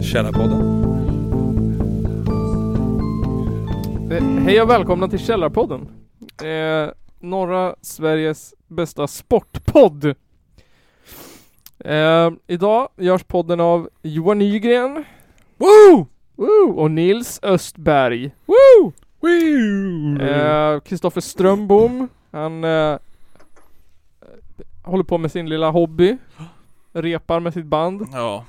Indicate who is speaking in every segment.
Speaker 1: Källarpodden.
Speaker 2: Eh, Hej och välkomna till Källarpodden. Eh, norra Sveriges bästa sportpodd. Eh, idag görs podden av Johan Nygren
Speaker 1: Woo!
Speaker 2: woo, och Nils Östberg.
Speaker 1: Woo!
Speaker 2: Eh, Kristoffer Strömbom. Han eh, håller på med sin lilla hobby. Repar med sitt band.
Speaker 3: Ja,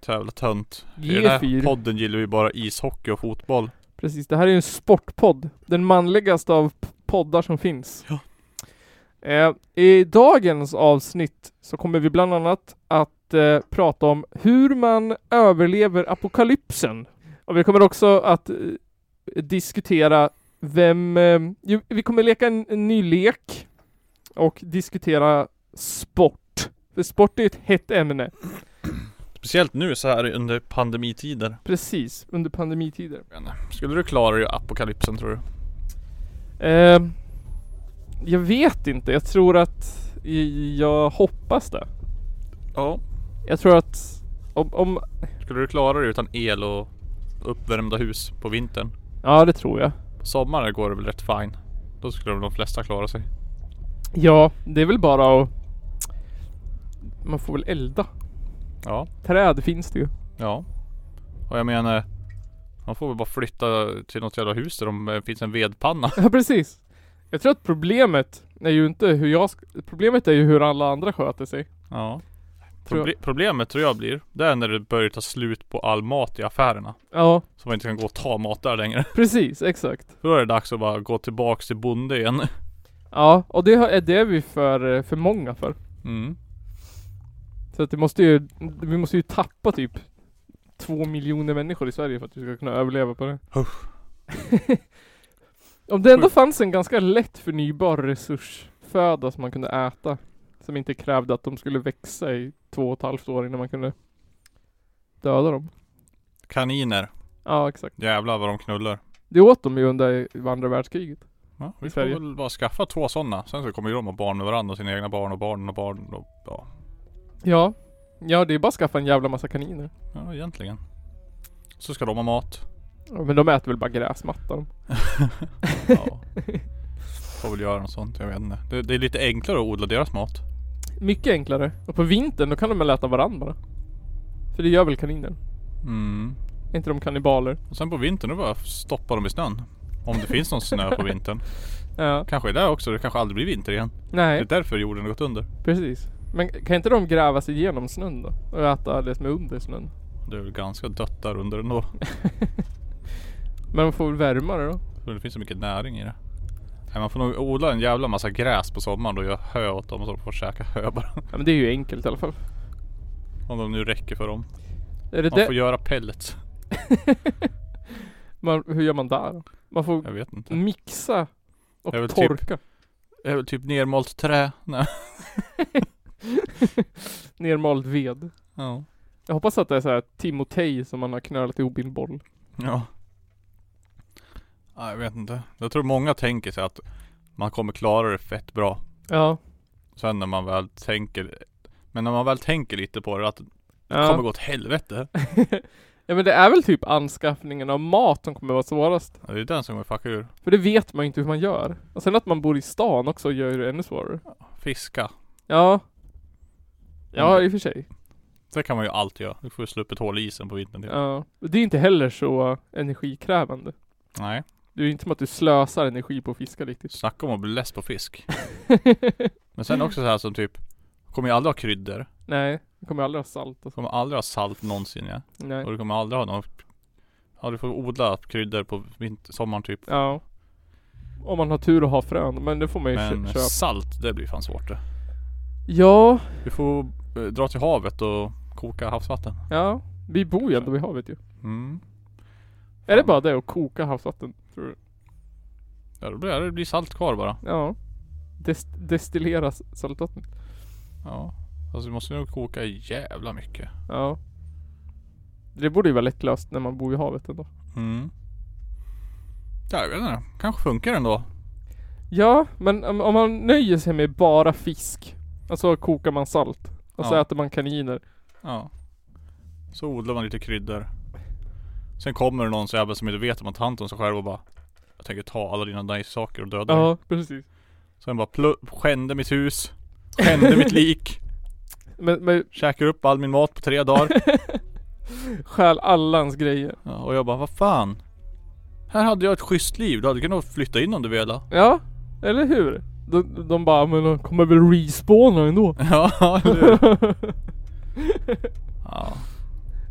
Speaker 3: så jävla tönt. I den här
Speaker 2: G4.
Speaker 3: podden gillar vi bara ishockey och fotboll.
Speaker 2: Precis, det här är ju en sportpodd. Den manligaste av p- poddar som finns.
Speaker 3: Ja.
Speaker 2: Eh, I dagens avsnitt så kommer vi bland annat att eh, prata om hur man överlever apokalypsen. Och vi kommer också att eh, diskutera vem... Eh, ju, vi kommer leka en, en ny lek och diskutera sport. För sport är ju ett hett ämne.
Speaker 3: Speciellt nu så här under pandemitider.
Speaker 2: Precis, under pandemitider.
Speaker 3: Jag vet inte. Skulle du klara dig i apokalypsen tror du?
Speaker 2: Eh, jag vet inte. Jag tror att jag hoppas det.
Speaker 3: Ja.
Speaker 2: Jag tror att om, om
Speaker 3: Skulle du klara dig utan el och uppvärmda hus på vintern?
Speaker 2: ja, det tror jag.
Speaker 3: På sommaren går det väl rätt fine. Då skulle väl de flesta klara sig.
Speaker 2: Ja, det är väl bara att man får väl elda.
Speaker 3: Ja,
Speaker 2: Träd finns det ju.
Speaker 3: ja. Och jag menar man får väl bara flytta till något jävla hus där det finns en vedpanna.
Speaker 2: Ja, precis. Jag tror att problemet är ju inte hur jag sk- Problemet är ju hur alla andra sköter sig.
Speaker 3: Ja.
Speaker 2: Tror jag.
Speaker 3: Proble- problemet tror jag blir, det är när det börjar ta slut på all mat i affärerna.
Speaker 2: Ja,
Speaker 3: Så man inte kan gå och ta mat där längre.
Speaker 2: precis. Exakt.
Speaker 3: Då är det dags att bara gå tillbaks till bonde igen.
Speaker 2: Ja, och det har- är det vi för, eh, för många för.
Speaker 3: Mm.
Speaker 2: Så att det måste ju, vi måste ju tappa typ två miljoner människor i Sverige för att vi ska kunna överleva på det. Om det ändå fanns en ganska lätt förnybar resursföda som man kunde äta. Som inte krävde att de skulle växa i två och ett halvt år innan man kunde döda dem.
Speaker 3: Kaniner.
Speaker 2: Ja, exakt.
Speaker 3: Jävlar vad de knullar.
Speaker 2: Det åt de ju under andra världskriget.
Speaker 3: Ja,
Speaker 2: I
Speaker 3: vi får
Speaker 2: Sverige.
Speaker 3: väl bara skaffa två sådana. Sen så kommer ju de ha barn med varandra och sina egna barn och barn och barn och ja.
Speaker 2: Ja. Ja, det är bara att skaffa en jävla massa kaniner.
Speaker 3: ja egentligen. Så ska de ha mat.
Speaker 2: Ja, men de äter väl bara gräsmatta de.
Speaker 3: Ja. Får väl göra något sånt, jag vet inte. Det, det är lite enklare att odla deras mat.
Speaker 2: Mycket enklare. Och på vintern då kan de väl äta varandra bara. För det gör väl kaniner?
Speaker 3: Mm.
Speaker 2: Är inte de kannibaler?
Speaker 3: Och sen på vintern då bara stoppa dem i snön. Om det finns någon snö på vintern.
Speaker 2: Ja.
Speaker 3: Kanske är det också, det kanske aldrig blir vinter igen. Det är
Speaker 2: Nej,
Speaker 3: därför jorden har gått under.
Speaker 2: precis. Men kan inte de gräva sig igenom snön då? Och äta det som är under snön?
Speaker 3: Det är väl ganska dött där under ändå.
Speaker 2: Men de får väl värma det då?
Speaker 3: För det finns så mycket näring i det. Nej, man får nog odla en jävla massa gräs på sommaren och göra hö åt dem och så får de käka hö bara.
Speaker 2: Ja men det är ju enkelt i alla fall.
Speaker 3: Om de nu räcker för dem.
Speaker 2: Är det
Speaker 3: Man får
Speaker 2: det?
Speaker 3: göra pellets.
Speaker 2: Man, hur gör man där då? Man får
Speaker 3: Jag vet
Speaker 2: Mm.
Speaker 3: inte.
Speaker 2: mixa och
Speaker 3: Det är väl typ-
Speaker 2: torka.
Speaker 3: Det är väl typ nermalt trä. Nej.
Speaker 2: Nermald ved.
Speaker 3: Ja.
Speaker 2: Jag hoppas att det är så här Timotej som man har knölat ihop i en boll.
Speaker 3: Ja. Nej, jag vet inte. Jag tror många tänker sig att man kommer klara det fett bra.
Speaker 2: Ja.
Speaker 3: Sen när man väl tänker. Men när man väl tänker lite på det att det kommer
Speaker 2: Ja.
Speaker 3: gå åt helvete.
Speaker 2: ja men det är väl typ anskaffningen av mat som kommer vara svårast.
Speaker 3: Ja, Det är den som kommer fucka ur.
Speaker 2: För det vet man ju inte hur man gör. Och sen att man bor i stan också gör ju det ännu svårare.
Speaker 3: Fiska.
Speaker 2: Ja. Ja, i och för sig.
Speaker 3: Det kan man ju alltid göra. Du får ju slå upp ett hål i isen på vintern. till.
Speaker 2: Ja. Och Det är inte heller så energikrävande.
Speaker 3: Nej.
Speaker 2: Det är ju inte som att du slösar energi på att fiska riktigt.
Speaker 3: Snacka om att bli less på fisk. Men sen också så här som typ Kommer ju aldrig ha kryddor.
Speaker 2: Nej, du kommer aldrig ha salt och så.
Speaker 3: Kommer aldrig ha salt någonsin ja.
Speaker 2: Nej.
Speaker 3: Och du kommer aldrig ha någon Ja du får odla kryddor på vinter, sommaren typ.
Speaker 2: Ja. Om man har tur och har frön, men det får man ju kö-
Speaker 3: Men
Speaker 2: köpa.
Speaker 3: salt det blir fan svårt det.
Speaker 2: Ja,
Speaker 3: Du får eh, dra till havet och koka havsvatten.
Speaker 2: ja. Vi bor ju ändå vid havet ju.
Speaker 3: Mm.
Speaker 2: Är det bara det att koka havsvatten? Tror du?
Speaker 3: Ja då blir det blir salt kvar bara.
Speaker 2: Ja. Dest destillera s- saltvatten.
Speaker 3: Ja. Alltså du måste nog koka jävla mycket.
Speaker 2: Ja. Det borde ju vara lättlöst när man bor i havet ändå.
Speaker 3: Mm. Ja jag vet inte. Kanske funkar ändå.
Speaker 2: Ja, men om, om man nöjer sig med bara fisk Alltså kokar man salt. Och så
Speaker 3: Ja.
Speaker 2: äter man kaniner.
Speaker 3: Ja. Så odlar man lite kryddor. Sen kommer det någon så jävla som inte vet om att han tar sig själv och bara Jag tänker ta alla dina nice saker och döda dig.
Speaker 2: Ja, precis.
Speaker 3: Sen bara plu- skände mitt hus. Skände mitt lik.
Speaker 2: Men, men
Speaker 3: Käkar upp all min mat på tre dagar.
Speaker 2: stjäl alla hans grejer.
Speaker 3: Ja, och jag bara vad fan. Här hade jag ett schysst liv. Du hade kunnat flytta in om du ville.
Speaker 2: Ja, eller hur? De, de bara, men de kommer väl respawna ändå.
Speaker 3: Ja, eller hur? Ja.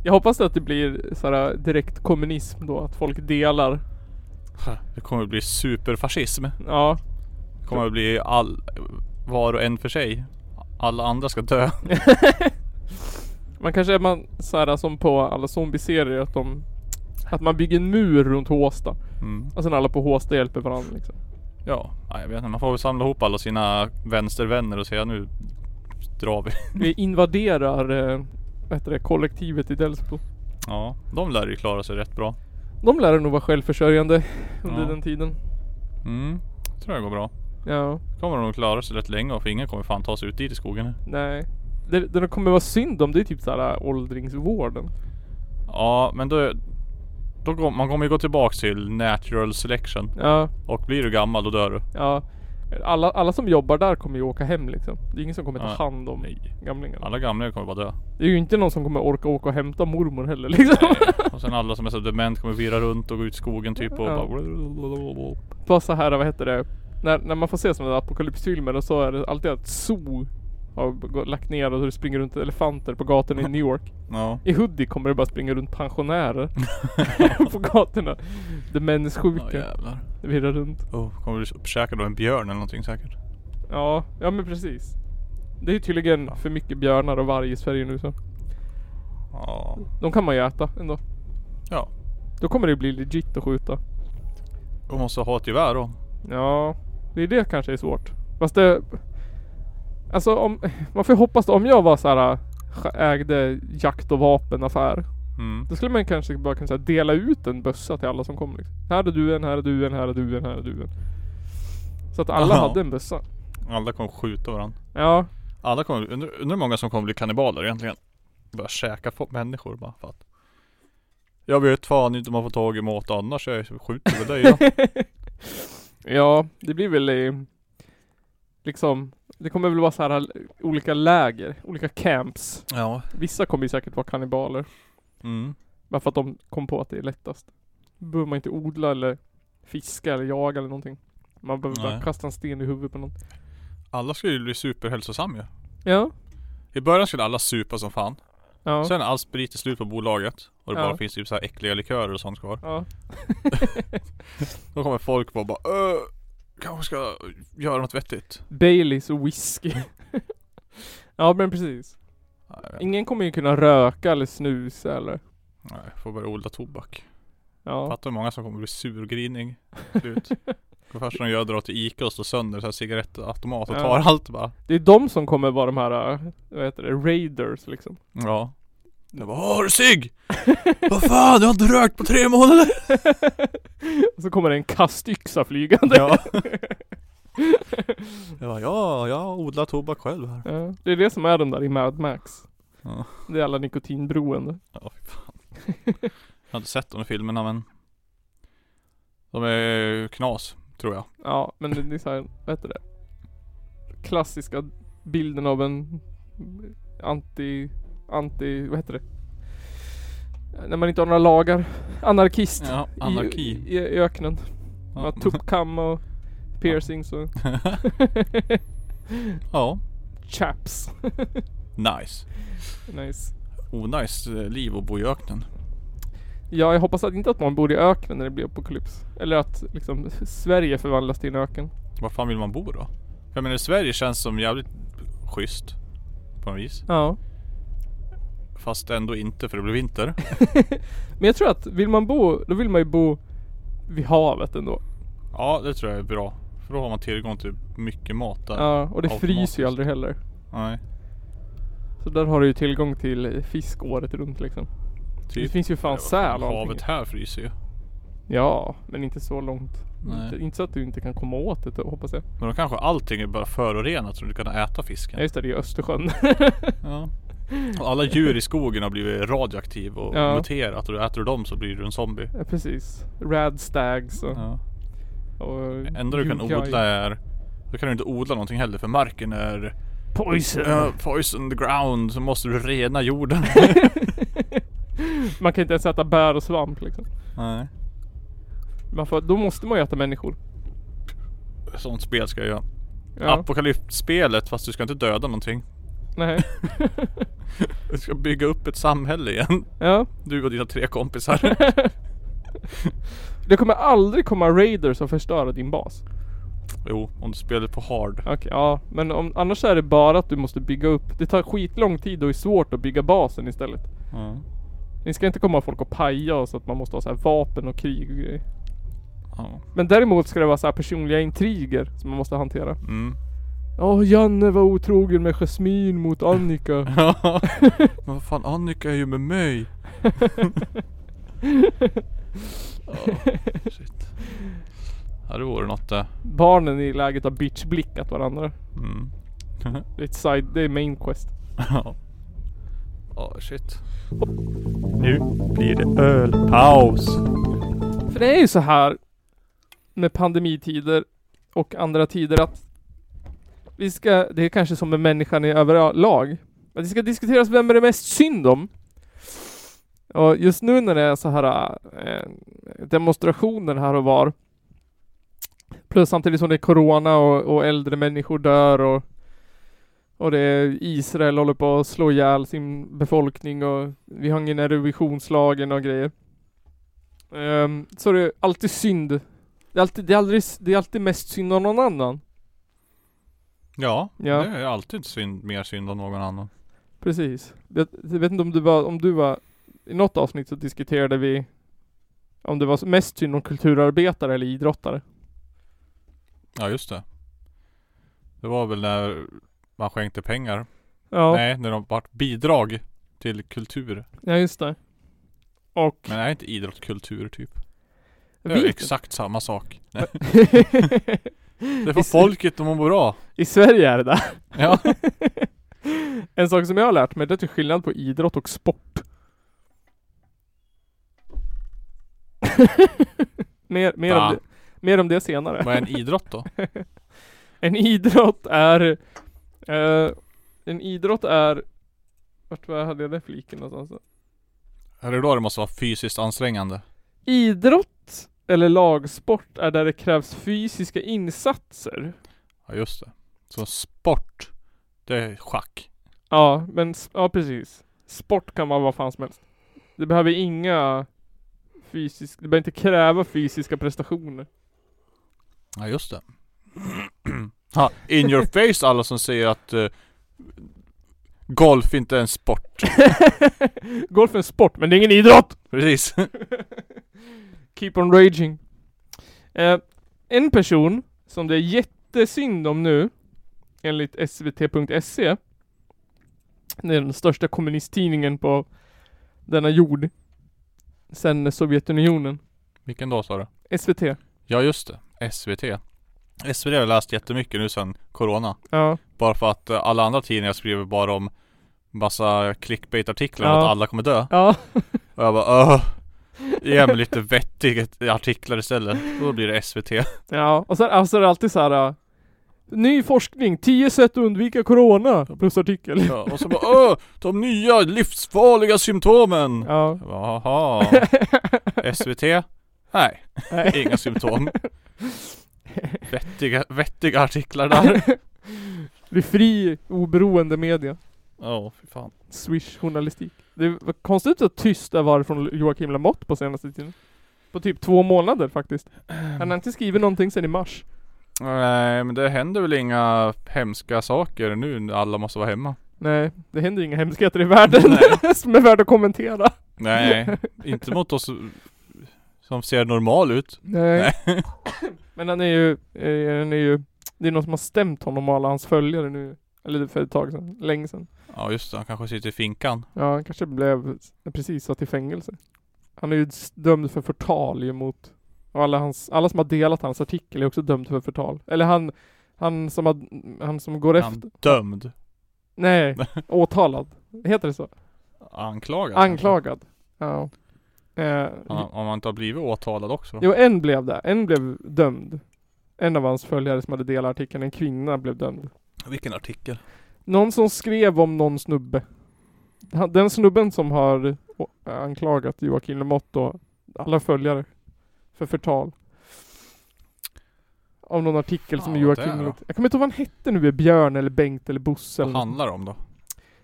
Speaker 2: Jag hoppas att det blir såhär direkt kommunism då, att folk delar.
Speaker 3: Det kommer att bli superfascism.
Speaker 2: Ja.
Speaker 3: Det kommer att bli all, var och en för sig. Alla andra ska dö.
Speaker 2: Man kanske är man såhär som på alla zombieserier att de att man bygger en mur runt Håsta
Speaker 3: Mm.
Speaker 2: och sen alla på Håsta hjälper varandra liksom.
Speaker 3: Ja, nej, jag vet inte. Man får väl samla ihop alla sina vänstervänner och säga nu drar vi.
Speaker 2: Vi invaderar eh, vad heter det, kollektivet i Delsbo.
Speaker 3: Ja, de lär ju klara sig rätt bra.
Speaker 2: De lär nog vara självförsörjande under
Speaker 3: Ja.
Speaker 2: den tiden.
Speaker 3: Mm, tror jag går bra.
Speaker 2: Ja,
Speaker 3: Kommer de nog klara sig rätt länge för ingen kommer fan ta sig ut dit i skogen.
Speaker 2: nej. Det, det kommer vara synd om det är typ såhär åldringsvården.
Speaker 3: Ja, men då... då går, man kommer ju gå tillbaks till natural selection.
Speaker 2: Ja,
Speaker 3: Och blir du gammal då dör du.
Speaker 2: ja. Alla, alla som jobbar där kommer ju åka hem liksom. Det är ingen som kommer ta
Speaker 3: Nej.
Speaker 2: hand om
Speaker 3: Nej.
Speaker 2: gamlingarna.
Speaker 3: Alla gamla kommer bara dö.
Speaker 2: Det är ju inte någon som kommer orka åka och hämta mormor heller liksom.
Speaker 3: Och sen alla som är så dement kommer vira runt och gå ut i skogen typ och
Speaker 2: Ja.
Speaker 3: bara...
Speaker 2: Bara så här, vad heter det? När, när man får se sådana där apokalypsfilmer och så är det alltid att zoo har gå- lagt ner och så det springer runt elefanter på gatorna i
Speaker 3: Mm.
Speaker 2: New York.
Speaker 3: Ja.
Speaker 2: I Hoodie kommer det bara springa runt pensionärer på gatorna.
Speaker 3: Ja
Speaker 2: Demenssjuka
Speaker 3: jävlar.
Speaker 2: virrar runt.
Speaker 3: Oh, kommer bli uppkäkad av en björn eller någonting säkert.
Speaker 2: Ja, ja men precis. Det är ju tydligen för mycket björnar och varg i Sverige nu så.
Speaker 3: Ja.
Speaker 2: De kan man ju äta ändå.
Speaker 3: Ja.
Speaker 2: Då kommer det bli legit att skjuta.
Speaker 3: De måste ha ett gevär då.
Speaker 2: Ja, det är det kanske är svårt. Fast det... Alltså om... Man får ju hoppas då, Om jag var så här ägde jakt och vapenaffär.
Speaker 3: Mm.
Speaker 2: Då skulle man kanske bara kunna så här, dela ut en bössa till alla som kom. Liksom. Här är du en, här är du en, här är du en, här är du en. Så att alla
Speaker 3: Jaha.
Speaker 2: hade en bössa.
Speaker 3: Alla kommer skjuta varandra.
Speaker 2: Ja,
Speaker 3: Alla kommer, undrar undrar hur många som kommer bli kannibaler egentligen? Börja käka på människor bara för att Jag vet fan inte om man får tag i mat annars, jag skjuter väl dig då.
Speaker 2: ja det blir väl eh, liksom... Det kommer väl vara så här olika läger, olika camps.
Speaker 3: ja.
Speaker 2: Vissa kommer ju säkert vara kannibaler.
Speaker 3: Mm.
Speaker 2: Bara för att de kom på att det är lättast. Då behöver man inte odla eller fiska eller jaga eller någonting. Man behöver bara
Speaker 3: Nej.
Speaker 2: kasta en sten i huvudet på någon.
Speaker 3: Alla skulle ju bli superhälsosam ju.
Speaker 2: Ja.
Speaker 3: I början skulle alla supa som fan.
Speaker 2: Ja.
Speaker 3: Sen är all sprit är slut på bolaget. Och det
Speaker 2: Ja.
Speaker 3: bara finns typ så här äckliga likörer och sånt kvar.
Speaker 2: ja.
Speaker 3: Då kommer folk bara, bara "Öh, Kanske ska göra något vettigt.
Speaker 2: Baileys och whisky. ja men precis.
Speaker 3: Nej, jag vet inte.
Speaker 2: Ingen kommer ju kunna röka eller snusa eller.
Speaker 3: Nej, får börja odla tobak.
Speaker 2: Ja.
Speaker 3: Fattar hur många som kommer bli surgrinig till slut. Det första de gör är att dra till Ica och slå sönder så här cigarettautomat och
Speaker 2: Ja.
Speaker 3: tar allt bara.
Speaker 2: Det är de som kommer vara de här, äh, vad heter det, raiders liksom.
Speaker 3: Ja. Jag bara har du cigg? Vad fan, jag har inte rökt på tre månader!
Speaker 2: och så kommer det en kastyxa flygande.
Speaker 3: Ja. Jag bara, ja, jag odlar tobak själv här.
Speaker 2: Ja. Det är det som är de där i Mad Max.
Speaker 3: Ja.
Speaker 2: Det är alla nikotinberoende.
Speaker 3: Ja, fy fan. Jag har inte sett de filmerna men De är knas, tror jag.
Speaker 2: Ja, men det är såhär, vad heter det? Klassiska bilden av en anti, anti, vad heter det? När man inte har några lagar. Anarkist.
Speaker 3: Ja,
Speaker 2: i-
Speaker 3: anarki.
Speaker 2: I, i öknen. Man har tuppkam och piercings och
Speaker 3: ja,
Speaker 2: chaps.
Speaker 3: nice.
Speaker 2: nice.
Speaker 3: Onice eh, liv att bo i öknen.
Speaker 2: Ja, jag hoppas att inte att man bor i öknen när det blir apokalyps. Eller att liksom Sverige förvandlas till en öken.
Speaker 3: Var fan vill man bo då? Jag menar Sverige känns som jävligt schysst På något vis
Speaker 2: Ja.
Speaker 3: Fast ändå inte för det blir vinter
Speaker 2: Men jag tror att vill man bo, då vill man ju bo vid havet ändå.
Speaker 3: Ja det tror jag är bra För då har man tillgång till mycket mat där
Speaker 2: Ja, och det fryser
Speaker 3: Automatiskt.
Speaker 2: ju aldrig heller.
Speaker 3: Nej
Speaker 2: Så där har du ju tillgång till eh, fisk året runt liksom. Det
Speaker 3: typ
Speaker 2: finns ju fan säl och allting.
Speaker 3: Havet här fryser ju
Speaker 2: Ja, men inte så långt.
Speaker 3: Nej.
Speaker 2: Inte, inte så att du inte kan komma åt det hoppas jag.
Speaker 3: Men då kanske allting är bara förorenat så du inte kan äta fisken.
Speaker 2: Ja just det, det är Östersjön.
Speaker 3: Ja. Och alla djur i skogen har blivit radioaktiva och
Speaker 2: Ja.
Speaker 3: muterat och då äter du dem så blir du en zombie.
Speaker 2: Ja, Precis. Rad stags och...
Speaker 3: Ja.
Speaker 2: och
Speaker 3: Enda du kan
Speaker 2: yukai.
Speaker 3: odla är då kan du inte odla någonting heller för marken är
Speaker 2: Poison!
Speaker 3: uh, poison the ground så måste du rena jorden.
Speaker 2: Man kan inte ens äta bär och svamp liksom.
Speaker 3: Nej.
Speaker 2: Man får, då måste man ju äta människor.
Speaker 3: Sånt spel ska jag göra.
Speaker 2: Ja.
Speaker 3: Apokalypsspelet fast du ska inte döda någonting.
Speaker 2: Nej.
Speaker 3: Du ska bygga upp ett samhälle igen.
Speaker 2: Ja.
Speaker 3: Du och dina tre kompisar.
Speaker 2: Det kommer aldrig komma raiders och förstöra din bas.
Speaker 3: Jo, om du spelar på hard.
Speaker 2: Okej, ja. Men om, annars är det bara att du måste bygga upp. Det tar skitlång tid och är svårt att bygga basen istället.
Speaker 3: Ja.
Speaker 2: Ni ska inte komma folk och paja och så att man måste ha så här vapen och krig och grejer.
Speaker 3: Ja.
Speaker 2: Men däremot ska det vara så här personliga intriger som man måste hantera.
Speaker 3: Mm.
Speaker 2: Ja, Janne var otrogen med Jasmine mot Annika.
Speaker 3: Ja. Men vad fan Annika är ju med mig. Ja, shit. Ja det vore något eh. det.
Speaker 2: Barnen i läget har bitchblickat varandra.
Speaker 3: Mm.
Speaker 2: Det är ett side, det är main quest.
Speaker 3: Ja. Ja shit. Nu blir det ölpaus.
Speaker 2: För det är ju så här med pandemitider och andra tider att vi ska, det är kanske som med människan i överlag, att det ska diskuteras vem är det mest synd om. Och just nu när det är så här eh, demonstrationer här och var, plus samtidigt som det är corona och, och äldre människor dör och, och det är Israel håller på att slå ihjäl sin befolkning och vi har ingen revisionslagen och grejer. Ehm, så det är alltid synd. Det är alltid, det är aldrig, det är alltid mest synd om någon annan.
Speaker 3: Ja,
Speaker 2: Ja.
Speaker 3: det är alltid synd, mer synd om någon annan.
Speaker 2: Precis. Jag, jag vet inte om du var, om du var, i något avsnitt så diskuterade vi om det var mest synd om kulturarbetare eller idrottare.
Speaker 3: Ja just det. Det var väl när man skänkte pengar.
Speaker 2: Ja,
Speaker 3: Nej, när de vart bidrag till kultur.
Speaker 2: ja just det. Och...
Speaker 3: Men är inte idrott kultur typ?
Speaker 2: Jag
Speaker 3: Det är ju
Speaker 2: vet
Speaker 3: exakt samma sak. Nej,
Speaker 2: inte.
Speaker 3: Det får folket om man mår bra.
Speaker 2: I Sverige är det där.
Speaker 3: Ja.
Speaker 2: En sak som jag har lärt mig, det är till skillnad på idrott och sport. mer, mer, om
Speaker 3: Va?
Speaker 2: det, mer om det senare.
Speaker 3: Vad är en idrott då?
Speaker 2: En idrott är... eh, en idrott är... Vart var hade jag den fliken någonstans?
Speaker 3: Är det då det måste vara fysiskt ansträngande?
Speaker 2: Idrott eller lagsport är där det krävs fysiska insatser.
Speaker 3: Ja just det. Så sport, det är schack.
Speaker 2: Ja, men s- ja precis. Sport kan vara vad fan som helst. Det behöver inga fysiska, det behöver inte kräva fysiska prestationer.
Speaker 3: Ja just det. ha, in your face alla som säger att eh, golf inte är en sport.
Speaker 2: Golf är en sport, men det är ingen idrott!
Speaker 3: Precis.
Speaker 2: Keep on raging. Eh, en person som det är jättesynd om nu, enligt svt.se, E, det är den största kommunisttidningen på denna jord, sen Sovjetunionen.
Speaker 3: Vilken dag sa du?
Speaker 2: SVT.
Speaker 3: Ja just det. SVT. SVT har jag läst jättemycket nu sedan Corona.
Speaker 2: Ja.
Speaker 3: Bara för att eh, alla andra tidningar skriver bara om massa clickbait-artiklar
Speaker 2: Ja.
Speaker 3: om att alla kommer dö.
Speaker 2: Ja.
Speaker 3: Och jag bara öh. Ge mig lite vettiga artiklar istället. Då blir det SVT.
Speaker 2: Ja, och sen alltså, det är det alltid så här. äh, Ny forskning, 10 sätt att undvika corona. Plus artikel.
Speaker 3: Ja, och så bara öh, de nya livsfarliga symptomen.
Speaker 2: Ja.
Speaker 3: Jag bara, Jaha. SVT? Nej,
Speaker 2: Nej.
Speaker 3: inga symptom. Vettiga, vettiga artiklar där.
Speaker 2: Det är fri, oberoende media.
Speaker 3: Ja, fy fan.
Speaker 2: Swish-journalistik. Det var konstigt så tyst det var från Joakim Lamotte på senaste tiden. På typ två månader faktiskt. Han har inte skrivit någonting sedan i mars.
Speaker 3: Nej, men det händer väl inga hemska saker nu när alla måste vara hemma.
Speaker 2: Nej, det händer inga hemskheter i världen som är värda att kommentera.
Speaker 3: Nej, inte mot oss som ser normal ut.
Speaker 2: Nej. Men han är ju, eh, han är ju, det är någon som har stämt honom och alla hans följare nu. Eller för ett tag sedan, länge sedan.
Speaker 3: Ja just det, han kanske sitter i finkan.
Speaker 2: Ja, han kanske blev precis satt i fängelse. Han är ju s- dömd för förtal ju mot Och alla, hans, alla som har delat hans artikel är också dömd för förtal. Eller han, han som, har, han som går efter...
Speaker 3: Han dömd.
Speaker 2: Nej, åtalad. Heter det så?
Speaker 3: Anklagad. kanske.
Speaker 2: Anklagad. Ja. Eh,
Speaker 3: Ja, om han inte har blivit åtalad också.
Speaker 2: Jo, en blev det. En blev dömd. En av hans följare som hade delat artikeln, en kvinna, blev dömd.
Speaker 3: Vilken artikel.
Speaker 2: Någon som skrev om någon snubbe. Han- Den snubben som har å- anklagat Joakim Lamotte och alla följare för förtal. Av någon artikel som
Speaker 3: Fan, vad det
Speaker 2: Joakim...
Speaker 3: är då.
Speaker 2: Lamotte- Jag kommer inte ihåg vad han hette nu, Björn eller Bengt eller Bosse
Speaker 3: Vad
Speaker 2: eller något.
Speaker 3: handlar det om då?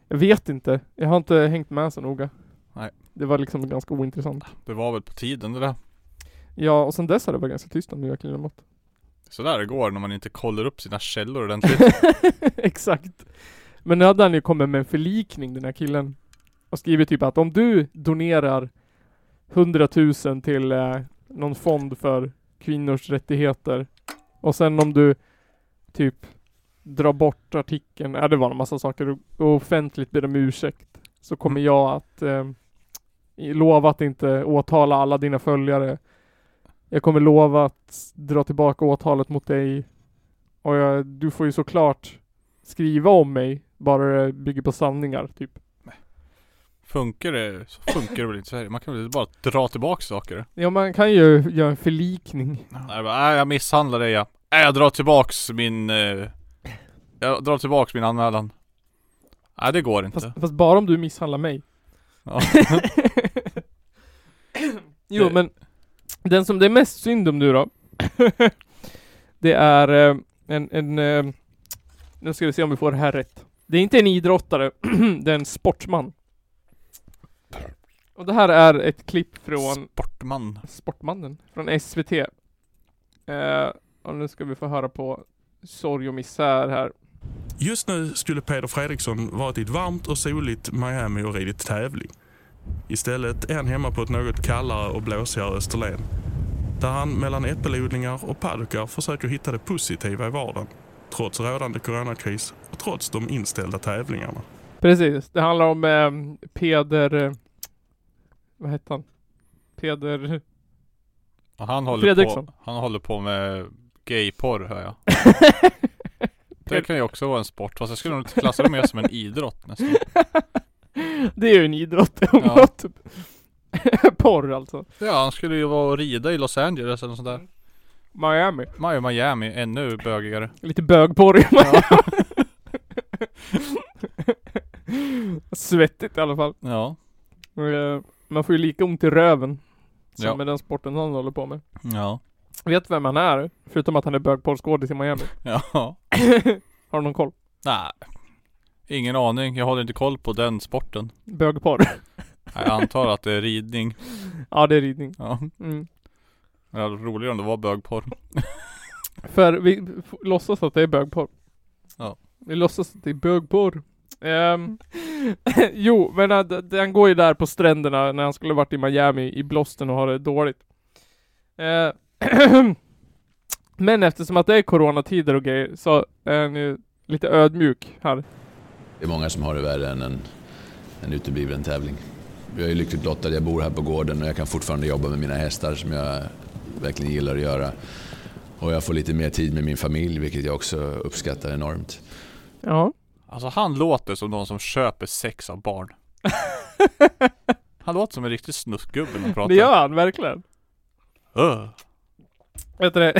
Speaker 2: Jag vet inte. Jag har inte hängt med så noga.
Speaker 3: Nej.
Speaker 2: Det var liksom ganska ointressant.
Speaker 3: Det var väl på tiden det där.
Speaker 2: Ja, och sen dess har det varit ganska tyst om Joakim Lamotte.
Speaker 3: Så där det går när man inte kollar upp sina källor ordentligt.
Speaker 2: Exakt. Men nu hade han ju kommit med en förlikning den här killen. Och skrivit typ att om du donerar 100 000 till eh, någon fond för kvinnors rättigheter och sen om du typ drar bort artikeln, ja det var en massa saker och- och offentligt ber om ursäkt så kommer
Speaker 3: Mm.
Speaker 2: jag att eh, i- lova att inte åtala alla dina följare. Jag kommer lova att dra tillbaka åtalet mot dig och jag, du får ju såklart skriva om mig bara det bygger på sanningar typ.
Speaker 3: Funkar det så funkar det väl inte i Sverige. Man kan väl bara dra tillbaka saker.
Speaker 2: Ja man kan ju göra en förlikning.
Speaker 3: Nej, jag, bara, "Äh, jag misshandlar dig jag. Äh, jag drar tillbaks min... Eh, jag drar tillbaks min anmälan. Nej det går inte.
Speaker 2: Fast, fast bara om du misshandlar mig.
Speaker 3: Ja.
Speaker 2: Jo
Speaker 3: Det-
Speaker 2: men den som det är mest synd om nu då. det är eh, en, en eh, nu ska vi se om vi får det här rätt. Det är inte en idrottare, det är en sportsman. Och det här är ett klipp från
Speaker 3: Sportman.
Speaker 2: Sportmannen från SVT. Eh, och nu ska vi få höra på Sorg och misär här.
Speaker 4: Just nu skulle Peder Fredriksson varit i ett varmt och soligt Miami och ridit tävling. Istället är han hemma på ett något kallare och blåsigare Österlen. Där han mellan äppelodlingar och paddockar försöker hitta det positiva i vardagen. Trots rådande coronakris och trots de inställda tävlingarna.
Speaker 2: Precis, det handlar om eh, Peder... Eh, vad hette han? Peder...
Speaker 3: Och han håller,
Speaker 2: Fredriksson.
Speaker 3: på, han håller på med gayporr hör jag. Det kan ju också vara en sport. Fast jag skulle nog inte klassa det mer som en idrott nästan.
Speaker 2: det är ju en idrott om
Speaker 3: Ja.
Speaker 2: något. Porr alltså.
Speaker 3: Ja han skulle ju vara och rida i Los Angeles eller sånt där.
Speaker 2: Miami.
Speaker 3: Majo Miami, ännu bögigare.
Speaker 2: Lite bögporr i Miami. Svettigt i alla fall.
Speaker 3: Ja.
Speaker 2: Eh, Man får ju lika ont i röven som
Speaker 3: Ja.
Speaker 2: med den sporten han håller på med.
Speaker 3: Ja.
Speaker 2: Vet vem han är? Förutom att han är bögporrskådis i Miami.
Speaker 3: Ja.
Speaker 2: Har du någon koll?
Speaker 3: Nej. Ingen aning. Jag håller inte koll på den sporten.
Speaker 2: Bögporr?
Speaker 3: Jag antar att det är ridning.
Speaker 2: ja, det är ridning.
Speaker 3: Ja.
Speaker 2: Mm.
Speaker 3: Men det hade varit roligare om det var bögporr.
Speaker 2: För vi f- låtsas att det är bögporr.
Speaker 3: Ja.
Speaker 2: Vi låtsas att det är bögporr. Ehm, jo, men han, han går ju där på stränderna när han skulle varit i Miami i blåsten och har det dåligt. Eh, men eftersom att det är coronatider och grejer så är han ju lite ödmjuk här.
Speaker 5: Det är många som har det värre än en, en utebliven tävling. Jag är lyckligt lottad, jag bor här på gården och jag kan fortfarande jobba med mina hästar som jag verkligen gillar att göra. Och jag får lite mer tid med min familj, vilket jag också uppskattar enormt.
Speaker 2: Ja.
Speaker 3: Alltså han låter som någon som köper sex av barn. Han låter som en riktig snuskgubbe när han pratar.
Speaker 2: Det gör han verkligen.
Speaker 3: Öh.
Speaker 2: Vet du det?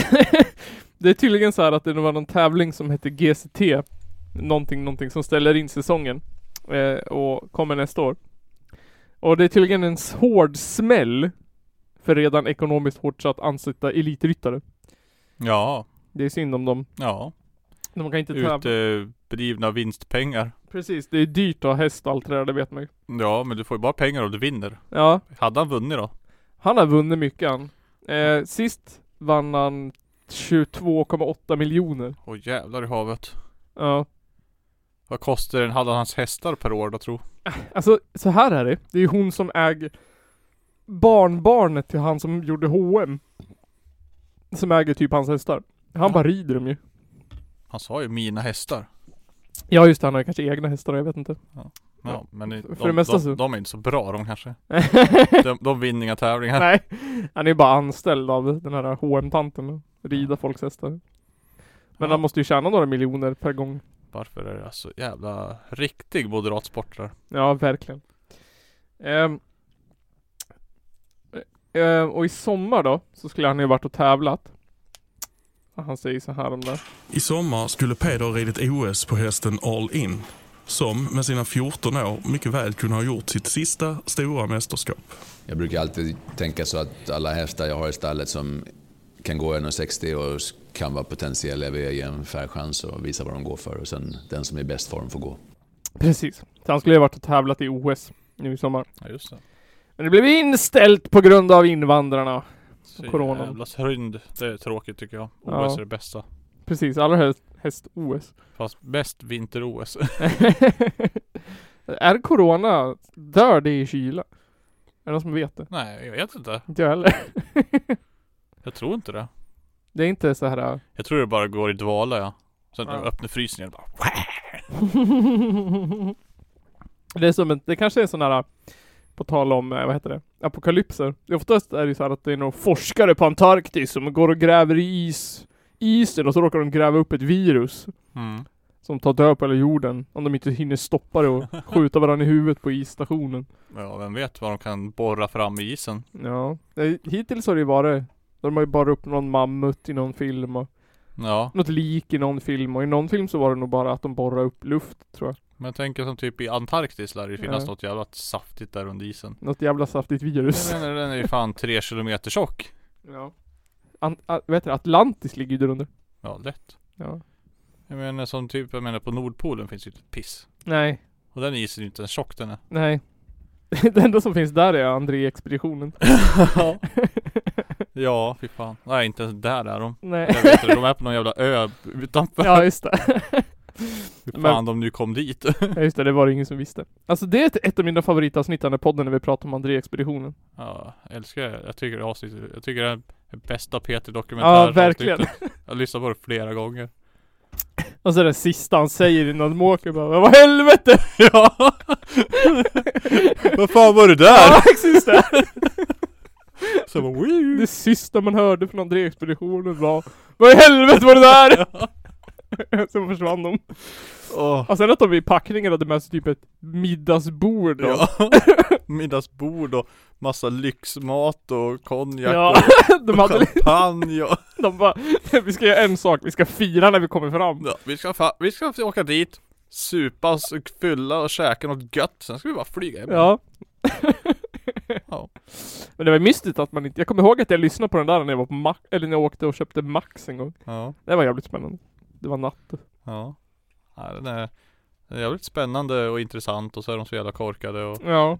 Speaker 2: det är tydligen så här att det var någon tävling som hette GCT Någonting, någonting som ställer in säsongen eh, Och kommer nästa år Och det är tydligen en s- hård smäll För redan ekonomiskt hårt satt ansatta elitryttare
Speaker 3: Ja.
Speaker 2: Det är synd om dem
Speaker 3: Ja.
Speaker 2: De kan inte tävla
Speaker 3: Utdrivna vinstpengar.
Speaker 2: Precis, det är dyrt att ha häst och allt det där, det vet man ju
Speaker 3: Ja, men du får ju bara pengar om du vinner.
Speaker 2: Ja
Speaker 3: Hade han vunnit då?
Speaker 2: Han har vunnit mycket han eh, Sist vann han 22,8 miljoner
Speaker 3: Åh jävlar i havet.
Speaker 2: Ja
Speaker 3: Vad kostar en hade hans hästar per år då tro?
Speaker 2: Alltså så här är det. Det är ju hon som äger barnbarnet till han som gjorde H&M Som äger typ hans hästar. Han bara rider dem ju.
Speaker 3: Han sa ju mina hästar.
Speaker 2: Ja just det, han har kanske egna hästar jag vet inte.
Speaker 3: Ja. Ja, men det-
Speaker 2: För
Speaker 3: de,
Speaker 2: det mesta så-
Speaker 3: de, de är inte så bra de kanske. De, de vinner inga tävlingar.
Speaker 2: Nej, han är ju bara anställd av den här hm tanten Rida folks hästar. Men
Speaker 3: Ja.
Speaker 2: han måste ju tjäna några miljoner per gång.
Speaker 3: Varför är det så jävla riktig moderat sport där?
Speaker 2: Ja, verkligen. Ehm. Ehm, och i sommar då, så skulle han ju varit och tävlat. Han säger så här om det.
Speaker 4: I sommar skulle Peder ha ridit OS på hästen All In som med sina 14 år mycket väl kunde ha gjort sitt sista stora mästerskap.
Speaker 5: Jag brukar alltid tänka så att alla hästar jag har i stallet som kan gå 1,60 och kan vara potentiella, jag vill ge en fair chans och visa vad de går för. Och sen den som är i bäst form får gå.
Speaker 2: Precis. Så han skulle ju varit och tävlat i OS nu i sommar.
Speaker 3: Ja just det.
Speaker 2: Men det blev inställt på grund av invandrarna.
Speaker 3: Så
Speaker 2: Coronan.
Speaker 3: jävla synd. Det är tråkigt tycker jag.
Speaker 2: Ja.
Speaker 3: OS är det bästa.
Speaker 2: Precis, allra helst häst-OS.
Speaker 3: Fast bäst vinter-OS.
Speaker 2: är corona, dör det i kyla? Är det någon som vet det?
Speaker 3: Nej, jag vet inte.
Speaker 2: Inte jag heller.
Speaker 3: Jag tror inte det.
Speaker 2: Det är inte så här. äh,
Speaker 3: Jag tror det bara går i dvala ja. Sen när
Speaker 2: Ja.
Speaker 3: jag öppnar frysen igen bara.
Speaker 2: det är som en, det kanske är sån här, äh, på tal om, eh, vad heter det, apokalypser. Det är Oftast är det ju så här att det är någon forskare på Antarktis som går och gräver i is, isen och så råkar de gräva upp ett virus
Speaker 3: Mm.
Speaker 2: som tar död på hela jorden om de inte hinner stoppa det och skjuta varandra i huvudet på isstationen.
Speaker 3: Ja, vem vet vad de kan borra fram i isen.
Speaker 2: Ja, Eh, hittills har det ju varit, de har ju bara upp någon mammut i någon film och
Speaker 3: Ja,
Speaker 2: något lik i någon film och i någon film så var det nog bara att de borrar upp luft tror jag.
Speaker 3: men jag tänker som typ i Antarktis lär det ju finnas
Speaker 2: Ja.
Speaker 3: något jävla saftigt där under isen.
Speaker 2: Något jävla saftigt virus.
Speaker 3: Den, den är ju fan tre kilometer tjock.
Speaker 2: Ja. An- a- vad heter det? Atlantis ligger ju där under.
Speaker 3: Ja, lätt.
Speaker 2: Ja.
Speaker 3: Jag menar som typ, jag menar på Nordpolen finns ju ett piss.
Speaker 2: Nej,
Speaker 3: Och den isen är ju inte ens tjock den är.
Speaker 2: nej. Det enda som finns där är André-expeditionen.
Speaker 3: ja. ja, fy fan. Nej, inte ens där är de.
Speaker 2: Nej.
Speaker 3: Jag vet inte, de är på någon jävla ö utanför.
Speaker 2: Ja, just det.
Speaker 3: Hur fan
Speaker 2: men-
Speaker 3: de nu kom dit.
Speaker 2: Ja, just det. Det var det ingen som visste. Alltså det är ett, ett av mina favoritavsnitt i den här podden när vi pratar om André-expeditionen.
Speaker 3: ja, jag älskar det. Jag tycker det avsnittet, jag tycker det är den bästa Peter dokumentären
Speaker 2: Ja, verkligen.
Speaker 3: Jag lyssnar på det flera gånger.
Speaker 2: Och så det sista han säger innan de åker bara Vad helvete!
Speaker 3: ja! Vad fan var det där?
Speaker 2: Ja, precis det.
Speaker 3: Så jag bara, "Wii."
Speaker 2: Det sista man hörde från André-expeditionen var Vad i helvete var det där? Sen försvann de.
Speaker 3: Åh.
Speaker 2: Och sen att de i packningen hade med sig typ ett middagsbord då.
Speaker 3: Ja. Middagsbord och massa lyxmat och konjak
Speaker 2: Ja,
Speaker 3: och
Speaker 2: de hade liksom,
Speaker 3: champagne och...
Speaker 2: De bara, vi ska göra en sak, vi ska fira när vi kommer fram.
Speaker 3: Ja, vi, ska fa- vi ska åka dit, supa oss och fylla och käka något gött, sen ska vi bara flyga hem.
Speaker 2: Ja.
Speaker 3: Ja.
Speaker 2: Men det var mystigt att man inte, jag kommer ihåg att jag lyssnade på den där när jag var på Mac, eller när jag åkte och köpte Max en gång.
Speaker 3: Ja.
Speaker 2: Det var jävligt spännande. Det var natt.
Speaker 3: Ja. ja den, är, den är jävligt spännande och intressant och så är de så jävla korkade och...
Speaker 2: Ja.
Speaker 3: Ja,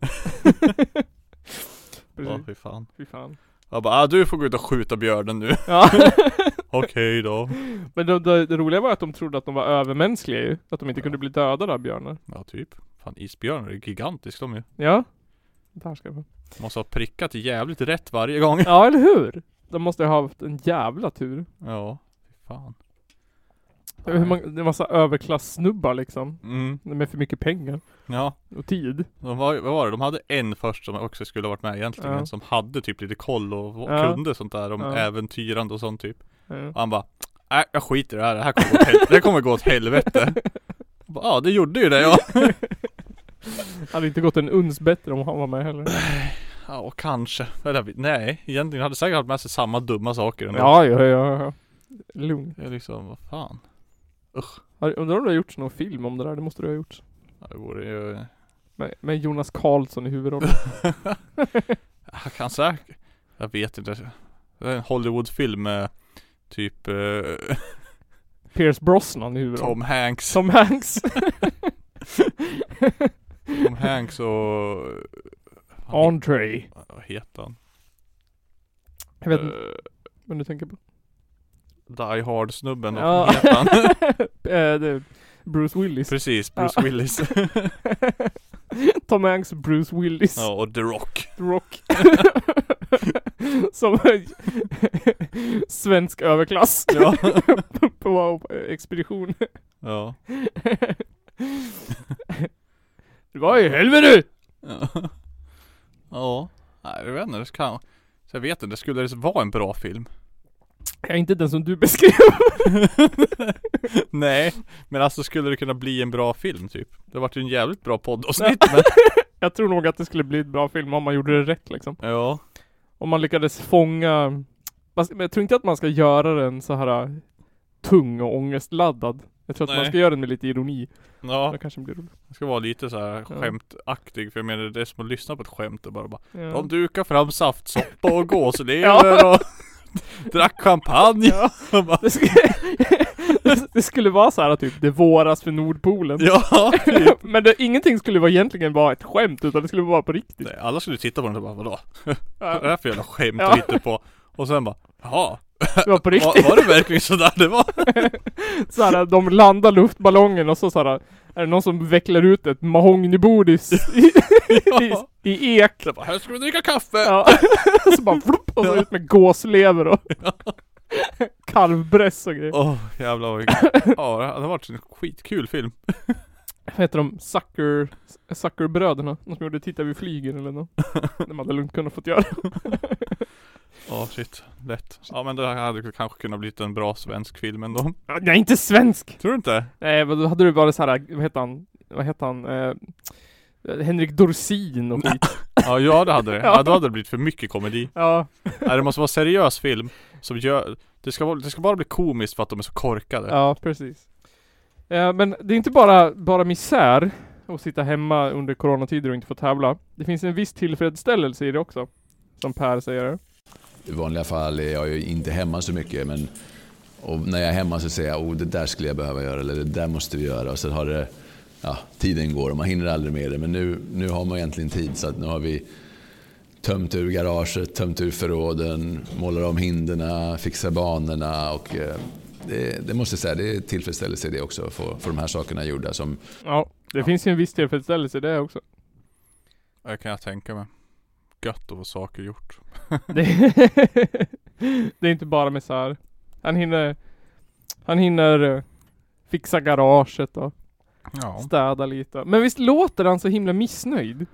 Speaker 2: Precis,
Speaker 3: fy fan.
Speaker 2: fy fan.
Speaker 3: Jag bara, ah, du får gå ut och skjuta björnen nu.
Speaker 2: Ja.
Speaker 3: Okej då.
Speaker 2: Men det, det, det roliga var att de trodde att de var övermänskliga ju. Att de inte kunde bli dödade av björnar.
Speaker 3: Ja, typ. Fan isbjörnar är gigantiska de ju.
Speaker 2: Ja. Det här ska jag få.
Speaker 3: Måste ha prickat jävligt rätt varje gång.
Speaker 2: Ja, eller hur? De måste ha haft en jävla tur.
Speaker 3: Ja, fy fan.
Speaker 2: Hur man, det är en massa överklassnubbar liksom.
Speaker 3: Mm,
Speaker 2: Med för mycket pengar.
Speaker 3: ja.
Speaker 2: Och tid.
Speaker 3: De var, vad var det? De hade en först som också skulle ha varit med egentligen.
Speaker 2: Ja.
Speaker 3: Som hade typ lite koll och
Speaker 2: Ja.
Speaker 3: kunde sånt där om
Speaker 2: Ja.
Speaker 3: äventyrande och sånt typ.
Speaker 2: Ja.
Speaker 3: Och han bara Nej jag skiter i det här, det här kommer gå åt helvete, det här kommer gå åt helvete. Jag bara, Ja det gjorde ju det ja.
Speaker 2: Hade inte gått en uns bättre om han var med heller.
Speaker 3: Ja och kanske. Eller, jag vet- nej, egentligen hade jag säkert haft med sig samma dumma saker ändå.
Speaker 2: Ja, ja, ja. ja. Lugn.
Speaker 3: Jag liksom, vad fan.
Speaker 2: Har- Undrar om du har gjort någon film om det där? Det måste du ha gjort.
Speaker 3: Ja, Det vore ju...
Speaker 2: Med, med Jonas Karlsson i huvudrollen.
Speaker 3: Jag kan säkert... Jag vet inte. Det är en Hollywoodfilm med typ eh,
Speaker 2: Pierce Brosnan i huvudrollen.
Speaker 3: Tom Hanks.
Speaker 2: Tom Hanks.
Speaker 3: Tom Hanks och...
Speaker 2: Andre.
Speaker 3: Vad heter han?
Speaker 2: Jag vet inte
Speaker 3: Eh,
Speaker 2: vad du tänker på.
Speaker 3: Die Hard snubben.
Speaker 2: Ja.
Speaker 3: Vad heter han?
Speaker 2: Eh, det är Bruce Willis.
Speaker 3: Precis, Bruce Willis.
Speaker 2: Tom Hanks, Bruce Willis,
Speaker 3: Ja och The Rock.
Speaker 2: The Rock. Som svensk överklass
Speaker 3: Ja.
Speaker 2: på eh, expedition.
Speaker 3: ja.
Speaker 2: Det Vad i helvete!
Speaker 3: ja. Nej, jag vet inte. Det kan... Så jag vet inte. Skulle det vara en bra film?
Speaker 2: Ja, inte den som du beskrev.
Speaker 3: Nej. Men alltså skulle det kunna bli en bra film typ? Det vart ju en jävligt bra poddavsnitt men.
Speaker 2: Jag tror nog att det skulle bli ett bra film om man gjorde det rätt liksom.
Speaker 3: Ja.
Speaker 2: Om man lyckades fånga... Fast- Men jag tror inte att man ska göra den så här äh, tung och ångestladdad. Jag tror att man
Speaker 3: Nej.
Speaker 2: ska göra den med lite ironi.
Speaker 3: Ja.
Speaker 2: Då kanske den blir rolig.
Speaker 3: Det ska vara lite så här skämtaktig. För jag menar det är som att lyssna på ett skämt och bara, bara
Speaker 2: Ja.
Speaker 3: De dukar fram saftsoppa och gåslever och drack champagne. Ja.
Speaker 2: Det, sk- det skulle vara så här typ, det våras för Nordpolen.
Speaker 3: ja. typ.
Speaker 2: Men det, ingenting skulle vara egentligen vara ett skämt utan det skulle vara på riktigt.
Speaker 3: Nej, alla skulle titta på den och bara vadå? Vad är det
Speaker 2: Ja,
Speaker 3: här för jävla skämt
Speaker 2: Ja.
Speaker 3: du hittar på? Och sen bara jaha,
Speaker 2: det var på riktigt.
Speaker 3: var, var det verkligen sådär det var?
Speaker 2: Så här, äh, de landar luftballongen och så, så här, äh, är det någon som vecklar ut ett mahognybord i, s- i, i,
Speaker 3: Ja.
Speaker 2: i ek.
Speaker 3: Jag bara, här ska vi dricka kaffe!
Speaker 2: Ja. så bara flopp, och så ut med gåslever och kalvbräss och grejer.
Speaker 3: Åh jävlar vad Ja det hade varit en skitkul film.
Speaker 2: Vad heter de? Sucker, suckerbröderna? De som gjorde Titta vi flyger eller något. De hade lugnt kunnat fått göra.
Speaker 3: Ja shit, lätt. Ja men det här hade kanske kunnat bli en bra svensk film ändå.
Speaker 2: Nej, inte svensk!
Speaker 3: Tror du inte?
Speaker 2: Nej, men då hade du varit så här, vad heter han? Vad heter han? Eh, Henrik Dorsin och skit.
Speaker 3: Ja jag hade det.
Speaker 2: Ja.
Speaker 3: Ja, då hade det blivit för mycket komedi.
Speaker 2: Ja.
Speaker 3: Nej det måste vara en seriös film som gör det ska, vara- det ska bara bli komiskt för att de är så korkade.
Speaker 2: Ja, precis. Eh, men det är inte bara, bara misär att sitta hemma under coronatider och inte få tävla. Det finns en viss tillfredsställelse i det också. Som Per säger.
Speaker 5: I vanliga fall är jag ju inte hemma så mycket men och när jag är hemma så säger jag oh, det där skulle jag behöva göra eller det där måste vi göra. Och så har det, ja, tiden går och man hinner aldrig med det. Men nu, nu har man egentligen tid så att nu har vi tömt ur garaget, tömt ur förråden, målar om hinderna, fixar banorna. Och, eh, det, det måste jag säga, det är tillfredsställelse i det också, att få, få de här sakerna gjorda. Som,
Speaker 2: Ja, det finns ju en viss tillfredsställelse i det också.
Speaker 3: Det kan jag tänka mig. Gött att få saker gjort.
Speaker 2: Det, det är inte bara misär. Han hinner, han hinner eh, fixa garaget och
Speaker 3: Ja,
Speaker 2: städa lite. Men visst låter han så himla missnöjd?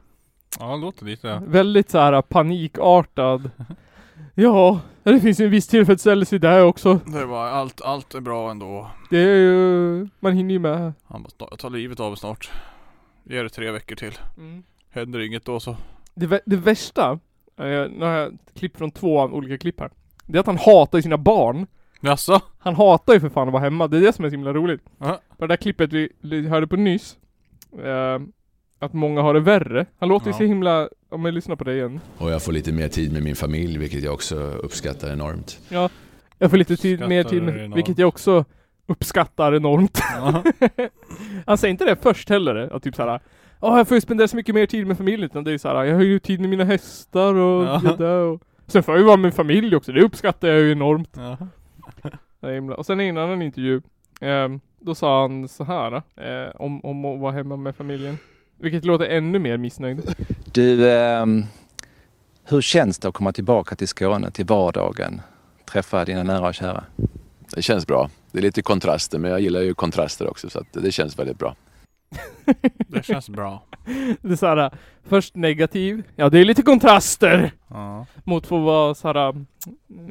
Speaker 3: ja det låter lite.
Speaker 2: Väldigt så här panikartad. Ja, det finns ju en viss tillfredsställelse i det här också.
Speaker 3: Det var allt, allt är bra ändå.
Speaker 2: Det är ju, man hinner ju med.
Speaker 3: Han bara, "Snart- jag tar livet av mig snart. Ge det tre veckor till. Händer inget då så.
Speaker 2: Det, vä- det värsta, eh, nu har jag ett klipp från två av olika klipp här. Det är att han hatar ju sina barn.
Speaker 3: Jaså?
Speaker 2: Han hatar ju för fan att vara hemma, det är det som är så himla roligt.
Speaker 3: Ja.
Speaker 2: På det där klippet vi li- hörde på nyss, eh, att många har det värre. Han låter ju
Speaker 3: Ja.
Speaker 2: så himla, om jag lyssnar på det igen.
Speaker 5: och jag får lite mer tid med min familj, vilket jag också uppskattar enormt.
Speaker 2: Jag får lite tid,
Speaker 3: Uppskattar
Speaker 2: mer tid,
Speaker 3: det
Speaker 2: med,
Speaker 3: enormt.
Speaker 2: vilket jag också uppskattar enormt.
Speaker 3: Ja.
Speaker 2: Han säger inte det först heller, att typ såhär Ja, jag får ju spendera så mycket mer tid med familjen, utan det är ju såhär, jag har ju tid med mina hästar och
Speaker 3: Ja.
Speaker 2: det där och Sen får jag ju vara med familj också, det uppskattar jag ju enormt.
Speaker 3: ja.
Speaker 2: Det är himla- Och sen i en annan intervju, ehm, då sa han så här eh, om, om att vara hemma med familjen. Vilket låter ännu mer missnöjd.
Speaker 6: Du, ehm, hur känns det att komma tillbaka till Skåne, till vardagen? Träffa dina nära och kära?
Speaker 5: Det känns bra. Det är lite kontraster, men jag gillar ju kontraster också så att det känns väldigt bra.
Speaker 3: Det känns bra.
Speaker 2: Det är så här, först negativ, ja det är lite kontraster
Speaker 3: Ja.
Speaker 2: mot att vara så här,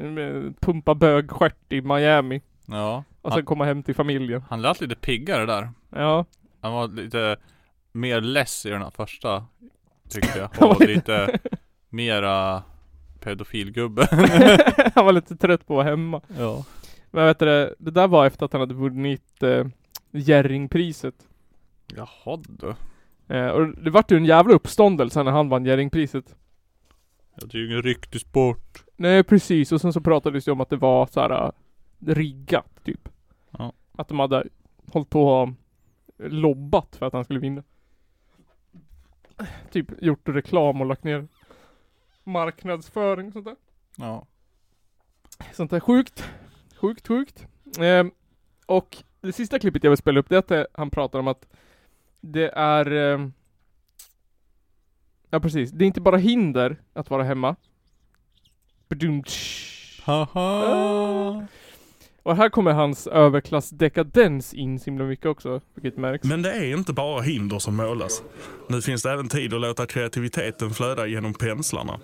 Speaker 2: mm, pumpa bögstjärt i Miami.
Speaker 3: Ja.
Speaker 2: Och sen komma hem till familjen.
Speaker 3: Han lät lite piggare där.
Speaker 2: Ja,
Speaker 3: Han var lite mer less i den här första. Tyckte
Speaker 2: Han
Speaker 3: jag.
Speaker 2: var
Speaker 3: Och lite mera pedofilgubbe.
Speaker 2: han var lite trött på att vara hemma.
Speaker 3: Ja.
Speaker 2: Men vet du, det det där var efter att han hade vunnit eh, Jerringpriset.
Speaker 3: Jaha du.
Speaker 2: Eh, och det vart ju en jävla uppståndelse när han vann Jerringpriset.
Speaker 3: Det är ju ingen riktig sport.
Speaker 2: Nej precis, och sen så pratades det om att det var så här äh, riggat typ.
Speaker 3: Ja.
Speaker 2: Att de hade hållit på och lobbat för att han skulle vinna. Typ gjort reklam och lagt ner marknadsföring och sånt där.
Speaker 3: Ja.
Speaker 2: Sånt där sjukt. Sjukt, sjukt. Ehm, och det sista klippet jag vill spela upp det är att eh, han pratar om att det är... ehm, ja precis, det är inte bara hinder att vara hemma. Badum, tsch.
Speaker 3: Haha.
Speaker 2: Och här kommer hans överklassdekadens in så himla mycket också, vilket märks.
Speaker 4: Men det är inte bara hinder som målas. Nu finns det även tid att låta kreativiteten flöda genom penslarna.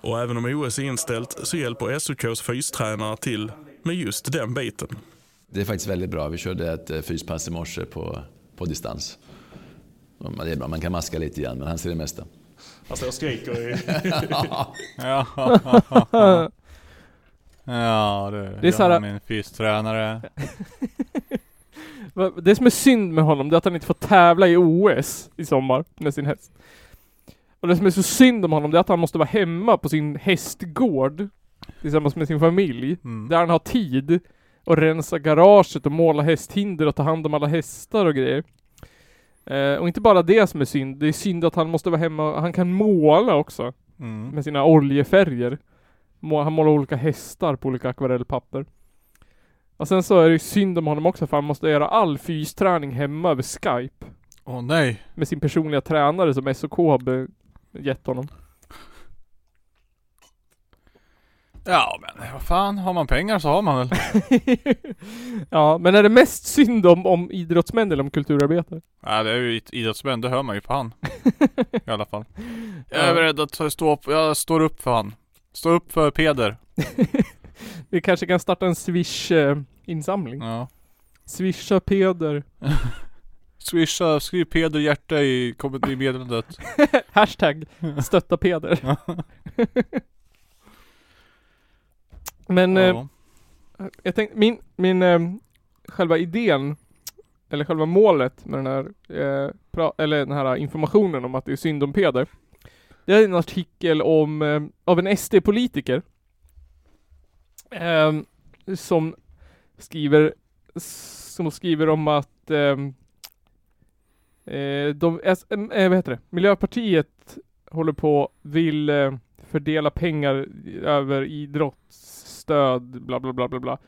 Speaker 4: Och även om OS är inställt så hjälper SOKs fystränare till med just den biten.
Speaker 5: Det är faktiskt väldigt bra. Vi körde ett eh, fyspass i morse på, på distans. Och man- Det är bra, man kan maska lite igen, men han ser det mesta.
Speaker 4: Han står och Alltså, skriker i...
Speaker 3: Ja, ja, ja, ja, ja. ja du.
Speaker 2: Det är så här-
Speaker 3: jag och min fystränare.
Speaker 2: Va- Det som är synd med honom, det är att han inte får tävla i OS i sommar med sin häst. Och det som är så synd om honom, det är att han måste vara hemma på sin hästgård tillsammans med sin familj.
Speaker 3: Mm.
Speaker 2: Där han har tid att rensa garaget och måla hästhinder och ta hand om alla hästar och grejer. Eh, och inte bara det som är synd, det är synd att han måste vara hemma, han kan måla också
Speaker 3: Mm.
Speaker 2: med sina oljefärger. Må- Han målar olika hästar på olika akvarellpapper. Och sen så är det ju synd om honom också för han måste göra all fysträning hemma över Skype.
Speaker 3: Åh nej.
Speaker 2: Med sin personliga tränare som SOK har be- gett honom.
Speaker 3: Ja men vad fan, har man pengar så har man väl.
Speaker 2: ja, men är det mest synd om, om idrottsmän eller om kulturarbetare?
Speaker 3: Ja det är ju id- idrottsmän, det hör man ju på han. I alla fall. Jag
Speaker 2: Ja.
Speaker 3: är beredd att ta- stå upp, jag står upp för han. Stå upp för Peder.
Speaker 2: Vi kanske kan starta en Swish-insamling.
Speaker 3: Ja.
Speaker 2: Swisha Peder.
Speaker 3: Swisha, skriv Peder hjärta i, kom- i meddelandet.
Speaker 2: Hashtag stötta Peder. Men eh,
Speaker 3: Ja.
Speaker 2: Jag tänkte, min, min eh, själva idén, eller själva målet med den här, eh, pra- eller den här informationen om att det är synd om Peder. Det är en artikel om, eh, av en SD-politiker. ehm, som skriver, som skriver om att ehm, eh, de, S, eh, vad heter det? Miljöpartiet håller på, vill eh, fördela pengar över idrottsstöd, bla bla bla bla bla.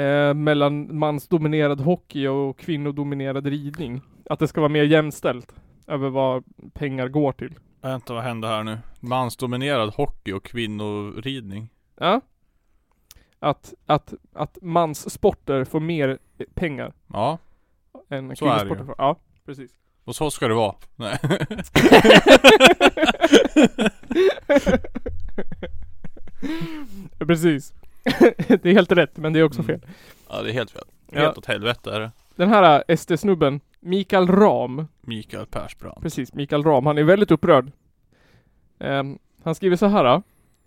Speaker 2: Eh, mellan mansdominerad hockey och kvinnodominerad ridning. Att det ska vara mer jämställt över vad pengar går till.
Speaker 3: Vänta vad hände här nu? Mansdominerad hockey och kvinnoridning.
Speaker 2: Ja. Att, att, att manssporter får mer eh, pengar
Speaker 3: Ja,
Speaker 2: än
Speaker 3: Så är det ju.
Speaker 2: kvinnosporter får. Ja, precis.
Speaker 3: och så ska det vara. Nej.
Speaker 2: precis. det är helt rätt, men det är också
Speaker 3: Mm.
Speaker 2: fel.
Speaker 3: Ja det är helt fel.
Speaker 2: Ja.
Speaker 3: Helt åt helvete är det.
Speaker 2: Den här eh, SD-snubben, Mikael Ram,
Speaker 3: Mikael Persbrandt.
Speaker 2: precis, Mikael Ram, han är väldigt upprörd. Ehm, han skriver så här. ah.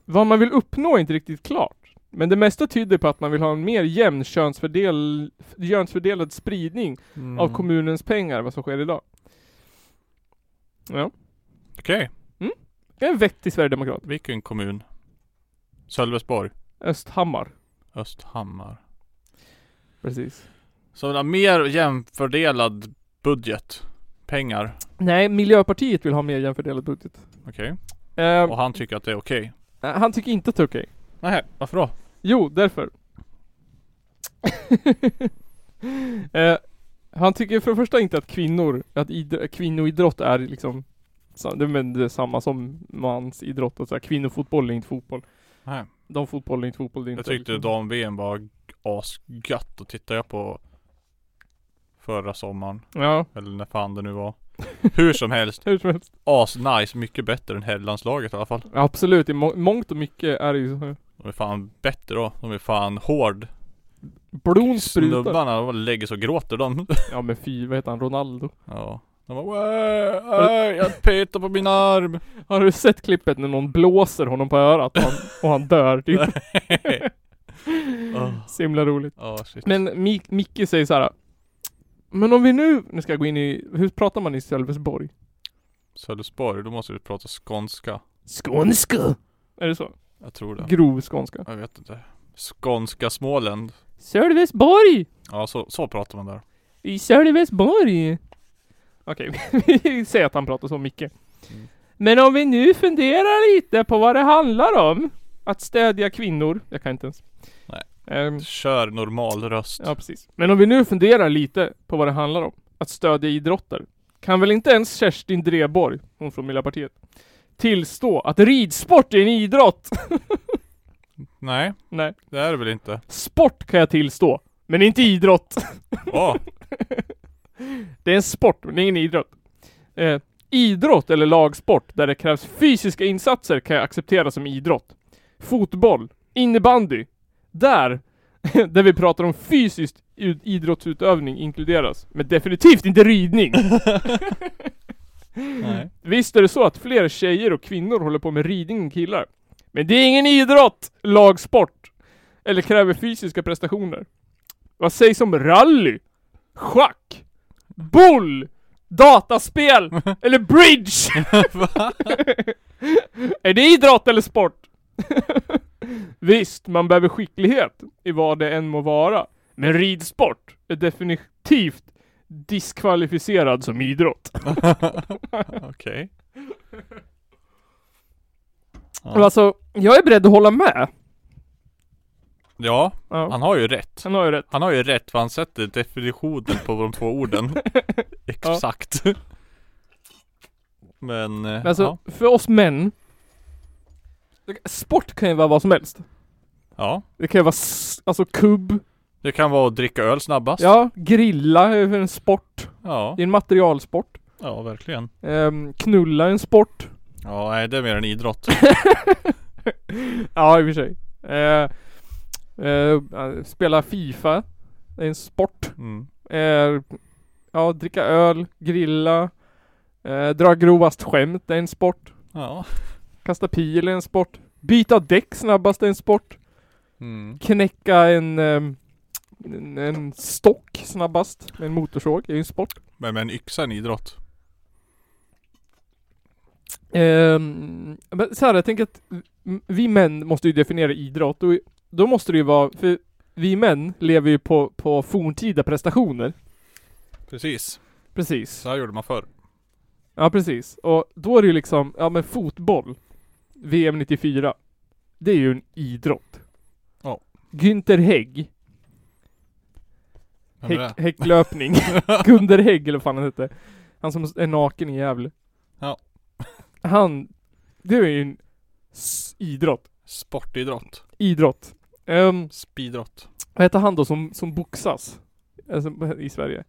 Speaker 2: Vad man vill uppnå är inte riktigt klart. Men det mesta tyder på att man vill ha en mer jämn könsfördel, könsfördelad spridning
Speaker 3: Mm.
Speaker 2: av kommunens pengar än vad som sker idag. Ja,
Speaker 3: Mm. Okej,
Speaker 2: det är en vettig sverigedemokrat.
Speaker 3: vilken kommun? Sölvesborg.
Speaker 2: Östhammar,
Speaker 3: Östhammar.
Speaker 2: precis.
Speaker 3: Så vill ha mer jämfördelad budget. Pengar.
Speaker 2: Nej, Miljöpartiet vill ha mer jämfördelad budget.
Speaker 3: Okej.
Speaker 2: Ehm,
Speaker 3: Och han tycker att det är okej.
Speaker 2: han tycker inte att det är okej.
Speaker 3: Nej, varför då?
Speaker 2: Jo, därför. eh, han tycker för det första inte att kvinnor, att idr- kvinnoidrott är liksom sa- det är men det är samma som mansidrott och så här. Kvinnofotboll är inte fotboll.
Speaker 3: Nej.
Speaker 2: De fotboll är inte fotboll. Det är
Speaker 3: Jag
Speaker 2: inte liksom-
Speaker 3: tyckte dam-VM var g- asgött och tittade jag på förra sommaren.
Speaker 2: Ja,
Speaker 3: Eller när fan det nu var. Hur som helst.
Speaker 2: hur som helst.
Speaker 3: Asnice. Mycket bättre än herrlandslaget i alla fall.
Speaker 2: Absolut, i må- mångt och mycket är det ju så. här.
Speaker 3: De är fan bättre då. De är fan hård.
Speaker 2: Blon sprutar.
Speaker 3: Snubbarna de bara lägger sig och gråter de.
Speaker 2: Ja men fy, vad heter han? Ronaldo.
Speaker 3: Ja. De bara "Wä, aj, jag petar på min arm.
Speaker 2: Har du sett klippet när någon blåser honom på örat och han, och han dör typ?
Speaker 3: Åh.
Speaker 2: Så himla roligt.
Speaker 3: Ja shit.
Speaker 2: Men Mik- Micke säger så här. Men om vi nu, nu ska jag gå in i, hur pratar man i Sölvesborg?
Speaker 3: Sölvesborg, då måste du prata skånska.
Speaker 2: Skånska! Är det så?
Speaker 3: Jag tror det.
Speaker 2: Grov skånska.
Speaker 3: Jag vet inte. Skånska Småland.
Speaker 2: Sölvesborg!
Speaker 3: Ja så, så pratar man där.
Speaker 2: I Sölvesborg! Okej, vi säger att han pratar så Micke. Mm. Men om vi nu funderar lite på vad det handlar om. Att stödja kvinnor. Jag kan inte ens.
Speaker 3: Nej.
Speaker 2: Ehm,
Speaker 3: Kör normal röst.
Speaker 2: Ja, precis. Men om vi nu funderar lite på vad det handlar om, att stödja idrotter, kan väl inte ens Kerstin Dreborg, hon från Miljöpartiet, tillstå att ridsport är en idrott?
Speaker 3: Nej,
Speaker 2: Nej.
Speaker 3: det är det väl inte.
Speaker 2: Sport kan jag tillstå. Men inte idrott.
Speaker 3: Åh,
Speaker 2: Det är en sport, men det är ingen idrott. Eh, idrott eller lagsport där det krävs fysiska insatser kan jag acceptera som idrott. Fotboll, innebandy. Där, där vi pratar om fysisk ut- idrottsutövning inkluderas. Men definitivt inte ridning.
Speaker 3: nej.
Speaker 2: Visst är det så att fler tjejer och kvinnor håller på med ridning än killar. Men det är ingen idrott, lagsport. Eller kräver fysiska prestationer. Vad sägs om rally? Schack? Boll? Dataspel? Eller bridge? är det idrott eller sport? Visst, man behöver skicklighet i vad det än må vara. Men ridsport är definitivt diskvalificerad som idrott.
Speaker 3: Okej.
Speaker 2: Och Alltså, jag är beredd att hålla med.
Speaker 3: Ja,
Speaker 2: Ja, han,
Speaker 3: han har ju rätt.
Speaker 2: har ju rätt.
Speaker 3: Han har ju rätt för han sätter definitionen på de två orden. Exakt. Men, eh,
Speaker 2: Men alltså,
Speaker 3: ja.
Speaker 2: för oss män. Sport kan ju vara vad som helst.
Speaker 3: ja.
Speaker 2: Det kan ju vara s- alltså kubb,
Speaker 3: Det kan vara att dricka öl snabbast.
Speaker 2: ja, grilla är ju en sport.
Speaker 3: Ja,
Speaker 2: Det är en materialsport.
Speaker 3: ja verkligen.
Speaker 2: Ehm, knulla är en sport.
Speaker 3: Ja, nej det är mer en idrott.
Speaker 2: Ja, i och för sig. Eh, eh, spela Fifa är en sport.
Speaker 3: Mm.
Speaker 2: Eh, ja, dricka öl, grilla, eh, dra grovast skämt är en sport.
Speaker 3: Ja.
Speaker 2: Kasta pil är en sport. Byta däck snabbast är en sport.
Speaker 3: Mm.
Speaker 2: Knäcka en, ehm, en, en stock snabbast med en motorsåg är ju en sport.
Speaker 3: Men med en yxa är en idrott.
Speaker 2: Ehm, men så här, jag tänker att m- vi män måste ju definiera idrott och då måste det ju vara, för vi män lever ju på, på forntida prestationer.
Speaker 3: Precis.
Speaker 2: Precis.
Speaker 3: Så här gjorde man förr.
Speaker 2: Ja, precis. Och då är det ju liksom, ja men fotboll, VM 94. Det är ju en idrott.
Speaker 3: Ja.
Speaker 2: Günther Hägg,
Speaker 3: Vem är
Speaker 2: Häck,
Speaker 3: det?
Speaker 2: häcklöpning. Gunder Hägg eller vad fan han hette. Han som är naken i Gävle.
Speaker 3: Ja.
Speaker 2: Han, det är ju en s- idrott.
Speaker 3: Sportidrott.
Speaker 2: Idrott. Ehm,
Speaker 3: Speedrott.
Speaker 2: vad heter han då som, som boxas? Alltså, I Sverige.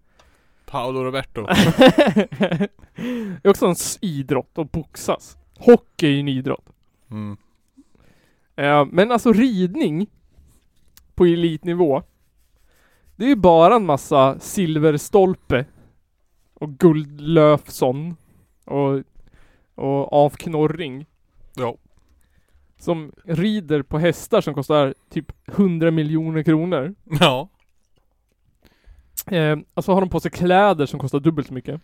Speaker 3: Paolo Roberto.
Speaker 2: det är också en s- idrott att boxas. Hockey är ju en idrott.
Speaker 3: Mm.
Speaker 2: Ehm, men alltså ridning på elitnivå. Det är ju bara en massa silverstolpe och guldlöfson och, och avknorring
Speaker 3: Ja.
Speaker 2: som rider på hästar som kostar typ 100 miljoner kronor.
Speaker 3: Ja.
Speaker 2: Ehm, och så har de på sig kläder som kostar dubbelt så mycket.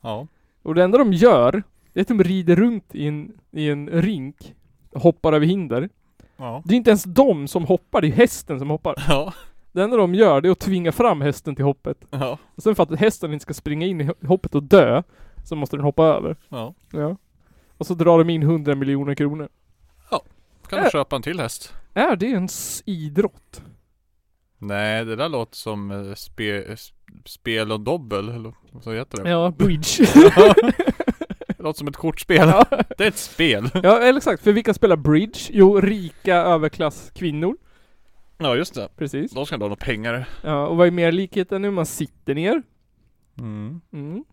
Speaker 3: Ja.
Speaker 2: Och det enda de gör, det är att de rider runt i en, i en rink, hoppar över hinder.
Speaker 3: Ja.
Speaker 2: Det är inte ens de som hoppar, det är hästen som hoppar.
Speaker 3: Ja.
Speaker 2: Det enda de gör, det är att tvinga fram hästen till hoppet.
Speaker 3: Ja.
Speaker 2: Och sen för att hästen inte ska springa in i ho- hoppet och dö, så måste den hoppa över.
Speaker 3: Ja.
Speaker 2: Ja. Och så drar de in 100 miljoner kronor.
Speaker 3: Kan
Speaker 2: Äh.
Speaker 3: du köpa en till häst?
Speaker 2: Är det en s- idrott?
Speaker 3: Nej, det där låter som eh, spe, eh, spel och dobbel, eller vad så heter det?
Speaker 2: Ja, bridge.
Speaker 3: Det låter som ett kortspel.
Speaker 2: Ja.
Speaker 3: Det är ett spel.
Speaker 2: ja, eller exakt. För vilka spelar bridge? Jo, rika överklasskvinnor.
Speaker 3: Ja, just det.
Speaker 2: Precis.
Speaker 3: De ska inte ha några pengar.
Speaker 2: Ja, och vad är mer likheten nu? Man sitter ner.
Speaker 3: Mm.
Speaker 2: Mm.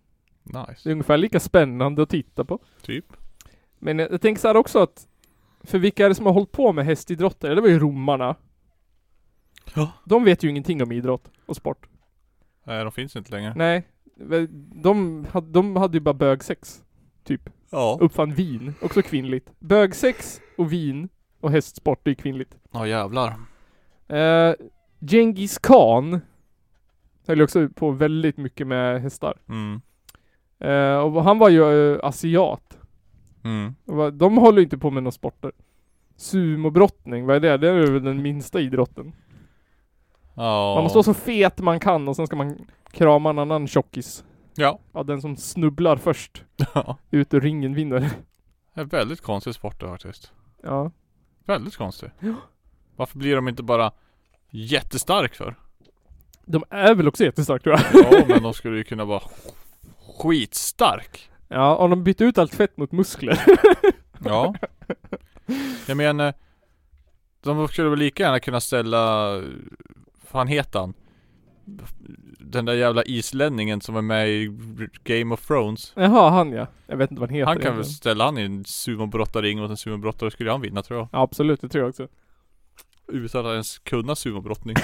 Speaker 2: Det är
Speaker 3: Nice.
Speaker 2: ungefär lika spännande att titta på.
Speaker 3: Typ.
Speaker 2: Men jag, jag tänker så här också att för vilka är det som har hållit på med hästidrotter? Det var ju romarna.
Speaker 3: Ja.
Speaker 2: De vet ju ingenting om idrott och sport.
Speaker 3: Nej, de finns inte längre.
Speaker 2: Nej. väl, De, hade- de hade ju bara bögsex. Typ.
Speaker 3: Ja.
Speaker 2: Uppfann vin. Också kvinnligt. Bögsex och vin och hästsport, det är kvinnligt.
Speaker 3: Ja, jävlar.
Speaker 2: Eh, Genghis khan. Höll ju också på väldigt mycket med hästar.
Speaker 3: Mm.
Speaker 2: Eh, och han var ju eh, asiat.
Speaker 3: Mm.
Speaker 2: Och va- De håller ju inte på med några sporter. Sumobrottning, vad är det? Det är väl den minsta idrotten.
Speaker 3: Ja.
Speaker 2: Man måste vara så fet man kan och sen ska man krama en annan tjockis.
Speaker 3: Ja.
Speaker 2: Ja, den som snubblar först
Speaker 3: Ja.
Speaker 2: ut ur ringen vinner.
Speaker 3: Det är väldigt konstig sport det faktiskt.
Speaker 2: Ja.
Speaker 3: Väldigt konstig. Varför blir de inte bara jättestark för?
Speaker 2: De är väl också jättestarka tror jag.
Speaker 3: Ja, men de skulle ju kunna vara skitstark.
Speaker 2: Ja, om de byter ut allt fett mot muskler.
Speaker 3: Ja. Jag menar, De skulle väl lika gärna kunna ställa, fan heter han? Den där jävla islänningen som är med i Game of Thrones
Speaker 2: Jaha, han ja. Jag vet inte vad han heter.
Speaker 3: Han kan väl
Speaker 2: egentligen.
Speaker 3: ställa han i en sumobrottarring mot en sumobrottare skulle han vinna tror jag
Speaker 2: Ja, absolut, det tror jag också.
Speaker 3: Utan att ens kunna sumobrottning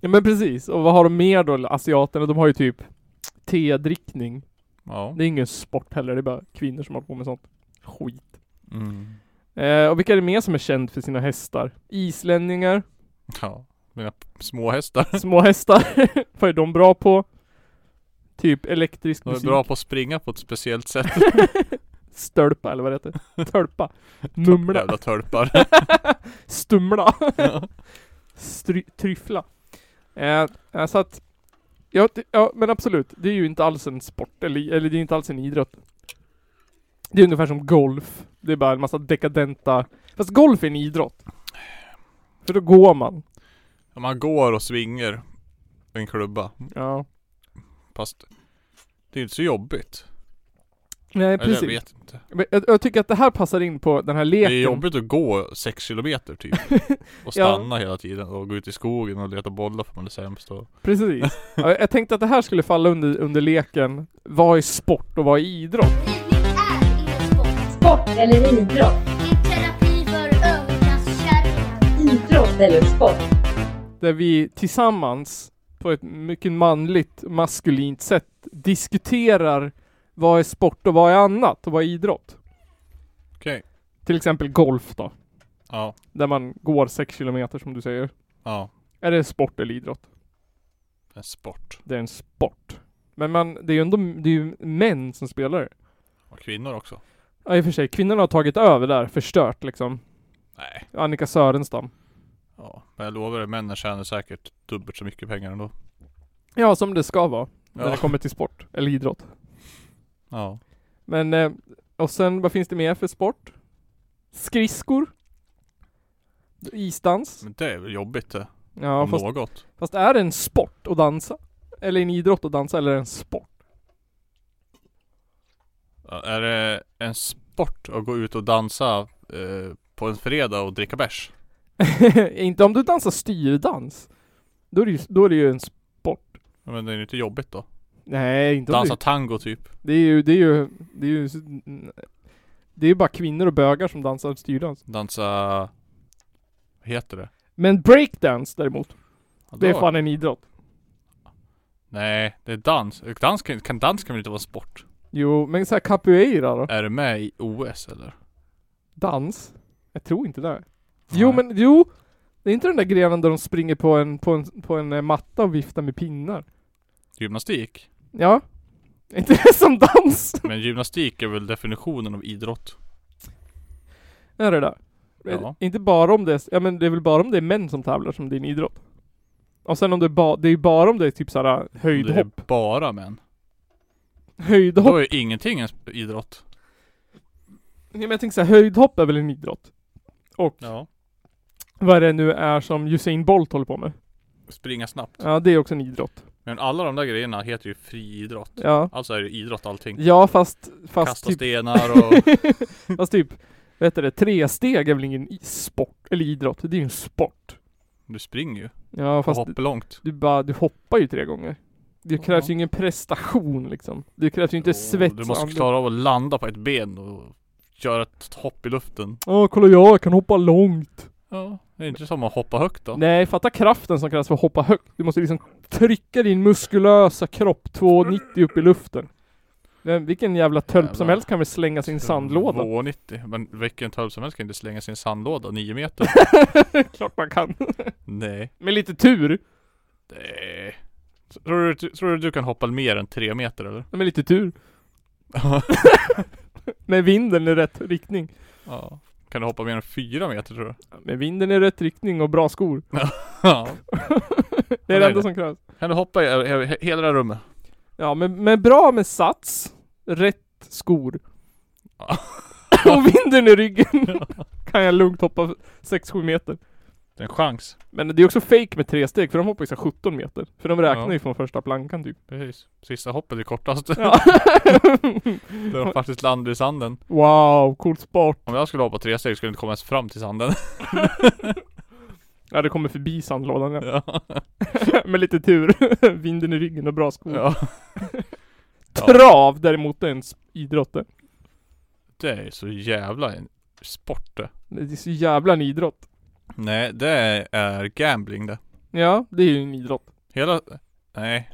Speaker 2: ja men precis, och vad har de mer då asiaterna? De har ju typ tedrickning.
Speaker 3: Ja
Speaker 2: Det är ingen sport heller, det är bara kvinnor som håller på med sånt. Skit.
Speaker 3: mm.
Speaker 2: Eh, och vilka är det mer som är känd för sina hästar? Islänningar,
Speaker 3: Ja, mina p- små hästar
Speaker 2: små hästar. vad är de bra på? Typ elektrisk
Speaker 3: De är
Speaker 2: musik.
Speaker 3: bra på att springa på ett speciellt sätt
Speaker 2: Stölpa eller vad det heter. Tölpa. Mumla.
Speaker 3: Jävla tölpar
Speaker 2: Stumla. Stry- tryffla. Eh, eh, så att, ja, det- ja men absolut, det är ju inte alls en sport, eller, eller det är inte alls en idrott. Det är ungefär som golf. Det är bara en massa dekadenta... Fast golf är en idrott. För då går man.
Speaker 3: Om man går och svingar en klubba
Speaker 2: Ja.
Speaker 3: Fast det är ju inte så jobbigt
Speaker 2: Nej
Speaker 3: Eller jag
Speaker 2: precis.
Speaker 3: vet inte
Speaker 2: Men Jag, jag tycker att det här passar in på den här
Speaker 3: Det
Speaker 2: leken.
Speaker 3: är jobbigt att gå 6 kilometer typ Och
Speaker 2: Ja.
Speaker 3: stanna hela tiden och gå ut i skogen och leta bollar för man är sämst och...
Speaker 2: Precis. Ja, jag tänkte att det här skulle falla under, under leken, vad är sport och vad är idrott?
Speaker 7: Simning är ingen sport.
Speaker 8: Sport eller idrott?
Speaker 7: Det är terapi för överklasskärringar.
Speaker 8: Idrott eller sport?
Speaker 2: Där vi tillsammans, på ett mycket manligt, maskulint sätt, diskuterar vad är sport och vad är annat och vad är idrott?
Speaker 3: Okej
Speaker 2: Till exempel golf då,
Speaker 3: Ja,
Speaker 2: där man går 6 kilometer som du säger.
Speaker 3: ja
Speaker 2: Är det sport eller idrott?
Speaker 3: En sport
Speaker 2: Det är en sport. Men man, det är ju ändå det är ju män som spelar det.
Speaker 3: Och kvinnor också
Speaker 2: Ja i och för sig, kvinnorna har tagit över där, förstört liksom.
Speaker 3: Nej
Speaker 2: Annika Sörenstam.
Speaker 3: Ja, men jag lovar dig, männen tjänar säkert dubbelt så mycket pengar ändå
Speaker 2: Ja, som det ska vara. När
Speaker 3: Ja.
Speaker 2: det kommer till sport, eller idrott.
Speaker 3: Ja
Speaker 2: Men, eh, och sen vad finns det mer för sport? Skridskor? Isdans?
Speaker 3: Men det är väl jobbigt det,
Speaker 2: Ja,
Speaker 3: om
Speaker 2: fast,
Speaker 3: något
Speaker 2: fast är det en sport att dansa? Eller en idrott att dansa, eller en sport?
Speaker 3: Ja, Är det en sport att gå ut och dansa eh, på en fredag och dricka bärs?
Speaker 2: Inte om du dansar styrdans. Då är det ju, då är det ju en sport.
Speaker 3: Ja, Men det är ju inte jobbigt då?
Speaker 2: Nej, inte om
Speaker 3: Dansa
Speaker 2: du,
Speaker 3: tango typ?
Speaker 2: det är ju, det är ju, det är ju, det är ju bara kvinnor och bögar som dansar styrdans.
Speaker 3: Dansa... Vad heter det?
Speaker 2: Men breakdance däremot,
Speaker 3: Ja,
Speaker 2: det är
Speaker 3: då-
Speaker 2: fan en idrott.
Speaker 3: Nej, det är dans. Dans kan, kan, dans kan väl inte vara en sport?
Speaker 2: Jo, men så här capoeira då?
Speaker 3: Är du med i OS eller?
Speaker 2: Dans? Jag tror inte det. Jo
Speaker 3: Nej.
Speaker 2: men, jo! Det är inte den där grenen där de springer på en, på en, på en eh, matta och viftar med pinnar.
Speaker 3: Gymnastik?
Speaker 2: Ja. Är inte det som dans?
Speaker 3: Men gymnastik är väl definitionen av idrott?
Speaker 2: Är det där?
Speaker 3: Ja.
Speaker 2: Inte bara om det är, ja men det är väl bara om det är män som tävlar som din idrott. Och sen om det är bara, det är ju bara om det är typ såhär
Speaker 3: Det är
Speaker 2: höjdhopp.
Speaker 3: bara män.
Speaker 2: Höjdhopp?
Speaker 3: Då är ingenting en sp- idrott.
Speaker 2: Nej men jag tänker såhär, höjdhopp är väl en idrott? Och
Speaker 3: Ja.
Speaker 2: vad det nu är som Usain Bolt håller på med.
Speaker 3: Springa snabbt.
Speaker 2: Ja det är också en idrott.
Speaker 3: Men alla de där grejerna heter ju friidrott.
Speaker 2: Ja.
Speaker 3: Alltså är det idrott allting.
Speaker 2: Ja fast, fast
Speaker 3: Kasta
Speaker 2: typ
Speaker 3: stenar och...
Speaker 2: Fast typ, vad heter det, tresteg är väl ingen i- sport, eller idrott, det är ju en sport.
Speaker 3: Du springer ju.
Speaker 2: Ja
Speaker 3: Och
Speaker 2: fast
Speaker 3: hoppar långt.
Speaker 2: du, bara, du hoppar ju tre gånger. Det krävs ju ingen prestation liksom. Det krävs ju inte
Speaker 3: Och
Speaker 2: svets
Speaker 3: Du
Speaker 2: och
Speaker 3: måste
Speaker 2: andning.
Speaker 3: klara av att landa på ett ben och göra ett hopp i luften.
Speaker 2: Ja kolla jag, jag kan hoppa långt.
Speaker 3: Ja. Det är inte som att hoppa högt då.
Speaker 2: Nej fatta kraften som krävs för att hoppa högt. Du måste liksom trycka din muskulösa kropp 2,90 upp i luften. Men vilken jävla tölp som
Speaker 3: Jävlar.
Speaker 2: helst kan väl slänga sin sandlåda.
Speaker 3: 2,90. Men vilken tölp som helst kan inte slänga sin sandlåda 9 meter.
Speaker 2: Klart man kan.
Speaker 3: Nej.
Speaker 2: Med lite tur.
Speaker 3: Nej. Tror du, tror du du kan hoppa mer än 3 meter eller?
Speaker 2: Med lite tur. Med vinden i rätt riktning.
Speaker 3: Ja. Kan du hoppa mer än 4 meter tror du?
Speaker 2: Med vinden i rätt riktning och bra skor.
Speaker 3: Ja.
Speaker 2: Det är
Speaker 3: Ja,
Speaker 2: det
Speaker 3: det
Speaker 2: enda
Speaker 3: är
Speaker 2: som krävs.
Speaker 3: Kan du hoppa i, i, i hela det här rummet?
Speaker 2: Ja, men, men bra med sats, rätt skor.
Speaker 3: Ja.
Speaker 2: och vinden i ryggen kan jag lugnt hoppa 6-7 meter.
Speaker 3: inte en chans.
Speaker 2: Men det är också fake med tre steg, för de hoppar ju så här 17 meter. För de räknar
Speaker 3: Ja.
Speaker 2: ju från första plankan typ.
Speaker 3: Precis. Sista hoppet är kortast.
Speaker 2: Ja.
Speaker 3: Där de faktiskt landar i sanden.
Speaker 2: wow, coolt sport.
Speaker 3: Om jag skulle hoppa tre steg skulle jag inte komma ens fram till sanden.
Speaker 2: Ja, det kommer förbi sandlådan ja.
Speaker 3: ja.
Speaker 2: Med lite tur. Vinden i ryggen och bra skor.
Speaker 3: ja.
Speaker 2: Trav däremot är en s- idrott det.
Speaker 3: Det är så jävla en sport det.
Speaker 2: Det är så jävla en idrott.
Speaker 3: Nej, det är gambling det.
Speaker 2: Ja, det är ju en idrott.
Speaker 3: Hela... Nej.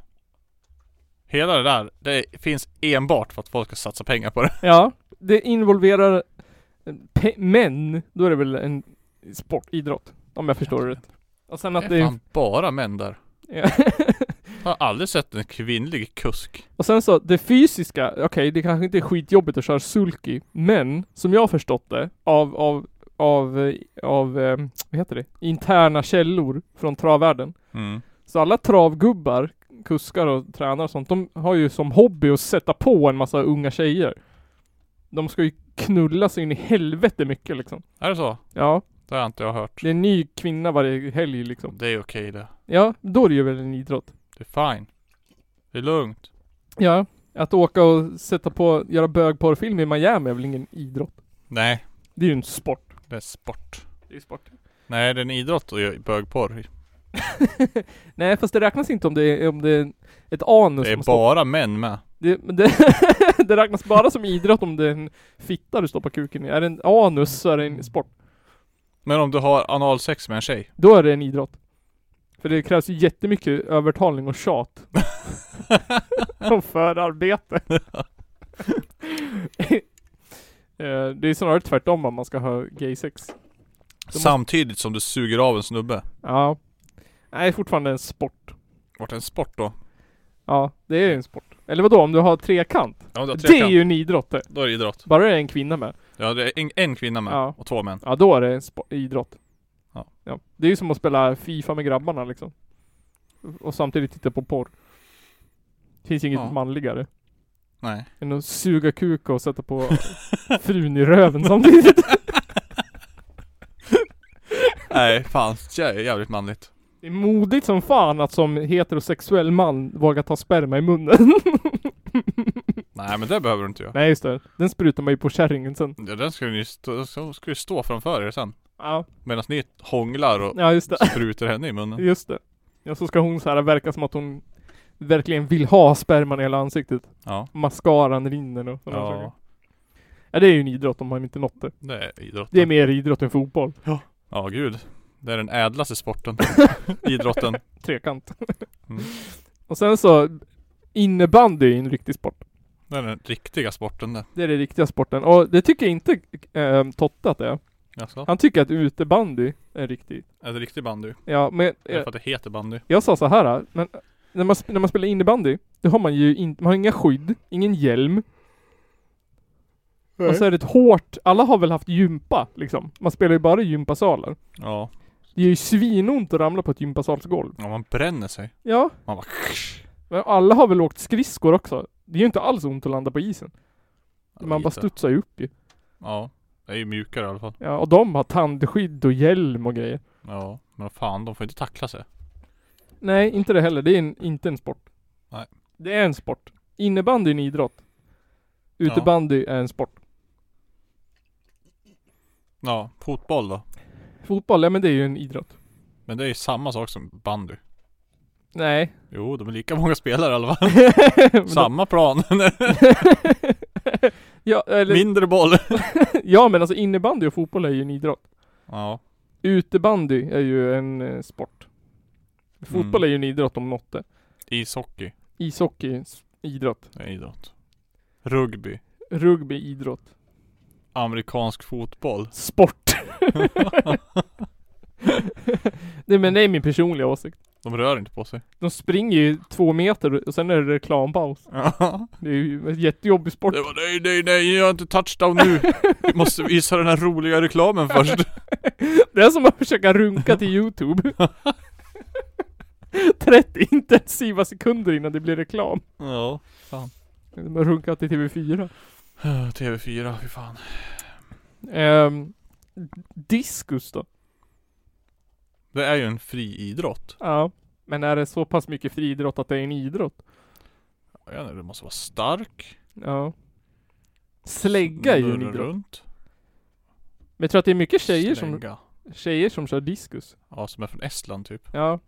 Speaker 3: Hela det där, det finns enbart för att folk ska satsa pengar på det.
Speaker 2: Ja, det involverar eh, pe- män. Då är det väl en sport, idrott. Om jag förstår det rätt. Och sen att
Speaker 3: det är
Speaker 2: det
Speaker 3: fan bara män där. Jag
Speaker 2: Ja.
Speaker 3: har aldrig sett en kvinnlig kusk.
Speaker 2: Och sen så, det fysiska, okej det kanske inte är skitjobbigt att köra sulky, men som jag har förstått det av, av, av, eh, av, eh, vad heter det, interna källor från travvärlden.
Speaker 3: Mm.
Speaker 2: Så alla travgubbar, kuskar och tränare och sånt, de har ju som hobby att sätta på en massa unga tjejer. De ska ju knulla sig in i helvete mycket liksom.
Speaker 3: Är det så?
Speaker 2: Ja,
Speaker 3: Det har inte jag hört.
Speaker 2: det är en ny kvinna varje helg liksom.
Speaker 3: Det är okej det.
Speaker 2: Ja, då är det ju väl en idrott.
Speaker 3: Det är fine. Det är lugnt.
Speaker 2: Ja, att åka och sätta på, göra bögporrfilm i Miami är väl ingen idrott?
Speaker 3: Nej,
Speaker 2: Det är ju en sport.
Speaker 3: det är sport.
Speaker 2: Det är sport.
Speaker 3: Nej, det är en idrott och jag- bögporr.
Speaker 2: Nej fast det räknas inte om det är, om det är ett anus
Speaker 3: Det
Speaker 2: som
Speaker 3: är
Speaker 2: man stoppar-
Speaker 3: bara män med.
Speaker 2: det, men det, det räknas bara som idrott om det är en fitta du stoppar kuken i. Är det en anus så är det en sport.
Speaker 3: Men om du har analsex med en tjej?
Speaker 2: Då är det en idrott. För det krävs ju jättemycket övertalning och tjat. och förarbete. Eh, det är snarare tvärtom om man ska ha gay sex. måste-
Speaker 3: Samtidigt som du suger av en snubbe.
Speaker 2: Ja. Nej, fortfarande en sport.
Speaker 3: Vart en sport då?
Speaker 2: Ja, det är ju en sport. Eller vadå, om du har trekant?
Speaker 3: Ja, om du har
Speaker 2: Det är
Speaker 3: trekant,
Speaker 2: ju en idrott det.
Speaker 3: Då är det idrott.
Speaker 2: Bara det är en kvinna med.
Speaker 3: Ja, det är en, en kvinna med
Speaker 2: Ja.
Speaker 3: och två män.
Speaker 2: Ja då är det en spo- idrott.
Speaker 3: Ja.
Speaker 2: Det är ju som att spela Fifa med grabbarna liksom. Och samtidigt titta på porr. Finns inget
Speaker 3: Ja.
Speaker 2: manligare
Speaker 3: Nej.
Speaker 2: än att suga kuk och sätta på frun i röven samtidigt.
Speaker 3: Nej, fan. Det är jävligt manligt.
Speaker 2: Det är modigt som fan att som heterosexuell man våga ta sperma i munnen.
Speaker 3: Nej, men det behöver du inte göra.
Speaker 2: Nej just det. Den sprutar man ju på kärringen sen.
Speaker 3: Ja, den ska ju stå, så ska ju stå framför er sen.
Speaker 2: Ja,
Speaker 3: Medan ni hånglar och
Speaker 2: ja just det.
Speaker 3: sprutar henne i munnen.
Speaker 2: Just det. Ja så ska hon så här verka som att hon verkligen vill ha sperman i hela ansiktet.
Speaker 3: Ja.
Speaker 2: Mascaran rinner och sådana saker.
Speaker 3: Ja,
Speaker 2: Ja det är ju en idrott om man inte nått det.
Speaker 3: det är idrott.
Speaker 2: Det är mer idrott än fotboll.
Speaker 3: Ja, gud. Det är den ädlaste sporten. Idrotten.
Speaker 2: Trekant.
Speaker 3: Mm.
Speaker 2: Och sen så Innebandy är ju en riktig sport.
Speaker 3: Det är den riktiga sporten det.
Speaker 2: Det är den riktiga sporten. Och det tycker inte eh, Totte att det är.
Speaker 3: Jaså?
Speaker 2: Han tycker att utebandy är en riktig.
Speaker 3: Är det riktig bandy?
Speaker 2: Ja men
Speaker 3: Det är
Speaker 2: eh,
Speaker 3: för att det heter bandy.
Speaker 2: jag sa så här. eh, Men när man, sp- när man spelar innebandy. Då har man ju inte, man har inga skydd. Ingen hjälm. Och så är det ett hårt. Alla har väl haft gympa liksom. Man spelar ju bara i gympasalar.
Speaker 3: Ja.
Speaker 2: Det är ju svinont att ramla på ett gympasalsgolv.
Speaker 3: ja, man bränner sig.
Speaker 2: Ja.
Speaker 3: Man bara
Speaker 2: Men alla har väl åkt skridskor också? Det är ju inte alls ont att landa på isen. Man bara
Speaker 3: Lite.
Speaker 2: studsar ju upp ju.
Speaker 3: Ja. Det är ju mjukare i alla fall.
Speaker 2: Ja, och de har tandskydd och hjälm och grejer.
Speaker 3: Ja. Men fan, de får inte tackla sig.
Speaker 2: Nej, inte det heller. Det är en, inte en sport.
Speaker 3: Nej.
Speaker 2: Det är en sport. Innebandy är en idrott. Utebandy är en sport.
Speaker 3: Ja, fotboll då.
Speaker 2: Fotboll, ja men det är ju en idrott.
Speaker 3: Men det är ju samma sak som bandy.
Speaker 2: Nej.
Speaker 3: Jo, de är lika många spelare i alla fall.
Speaker 2: Men då-
Speaker 3: Samma plan.
Speaker 2: ja, eller,
Speaker 3: Mindre boll.
Speaker 2: ja, men alltså innebandy och fotboll är ju en idrott.
Speaker 3: Ja.
Speaker 2: Utebandy är ju en eh, sport. Fotboll
Speaker 3: Mm.
Speaker 2: är ju en idrott om något det.
Speaker 3: Ishockey
Speaker 2: Ishockey, är en s- idrott.
Speaker 3: är idrott. Rugby.
Speaker 2: Rugby, idrott.
Speaker 3: Amerikansk fotboll.
Speaker 2: Sport. Nej men det är min personliga åsikt.
Speaker 3: De rör inte på sig.
Speaker 2: De springer ju två meter och sen är det reklampaus.
Speaker 3: Ja.
Speaker 2: Det är ju en jättejobbig sport.
Speaker 3: Det var nej, nej, nej, jag har inte touchdown nu. Vi måste visa den här roliga reklamen först.
Speaker 2: Det är som att försöka runka till Youtube. 30 intensiva sekunder innan det blir reklam.
Speaker 3: Ja.
Speaker 2: Det är som att runka till TV4.
Speaker 3: TV4, fy fan.
Speaker 2: Ehm, diskus då?
Speaker 3: Det är ju en friidrott.
Speaker 2: Ja. Men är det så pass mycket friidrott att det är en idrott?
Speaker 3: Jag vet inte, Du måste vara stark.
Speaker 2: Ja. Slägga är ju en
Speaker 3: snurra
Speaker 2: idrott.
Speaker 3: runt.
Speaker 2: Men jag tror att det är mycket tjejer som,
Speaker 3: Slägga.
Speaker 2: tjejer som kör diskus.
Speaker 3: Ja, som är från Estland typ.
Speaker 2: Ja.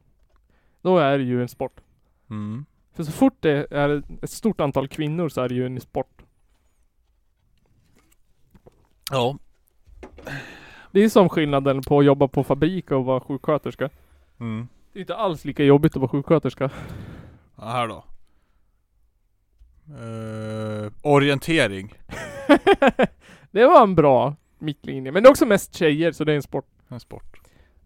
Speaker 2: Då är det ju en sport.
Speaker 3: Mm.
Speaker 2: För så fort det är ett stort antal kvinnor så är det ju en sport.
Speaker 3: Ja.
Speaker 2: Det är som skillnaden på att jobba på fabrik och vara sjuksköterska.
Speaker 3: Mm.
Speaker 2: Det är inte alls lika jobbigt att vara sjuksköterska.
Speaker 3: Ja, här då. Eh, orientering.
Speaker 2: det var en bra mittlinje. Men det är också mest tjejer så det är en sport.
Speaker 3: En sport.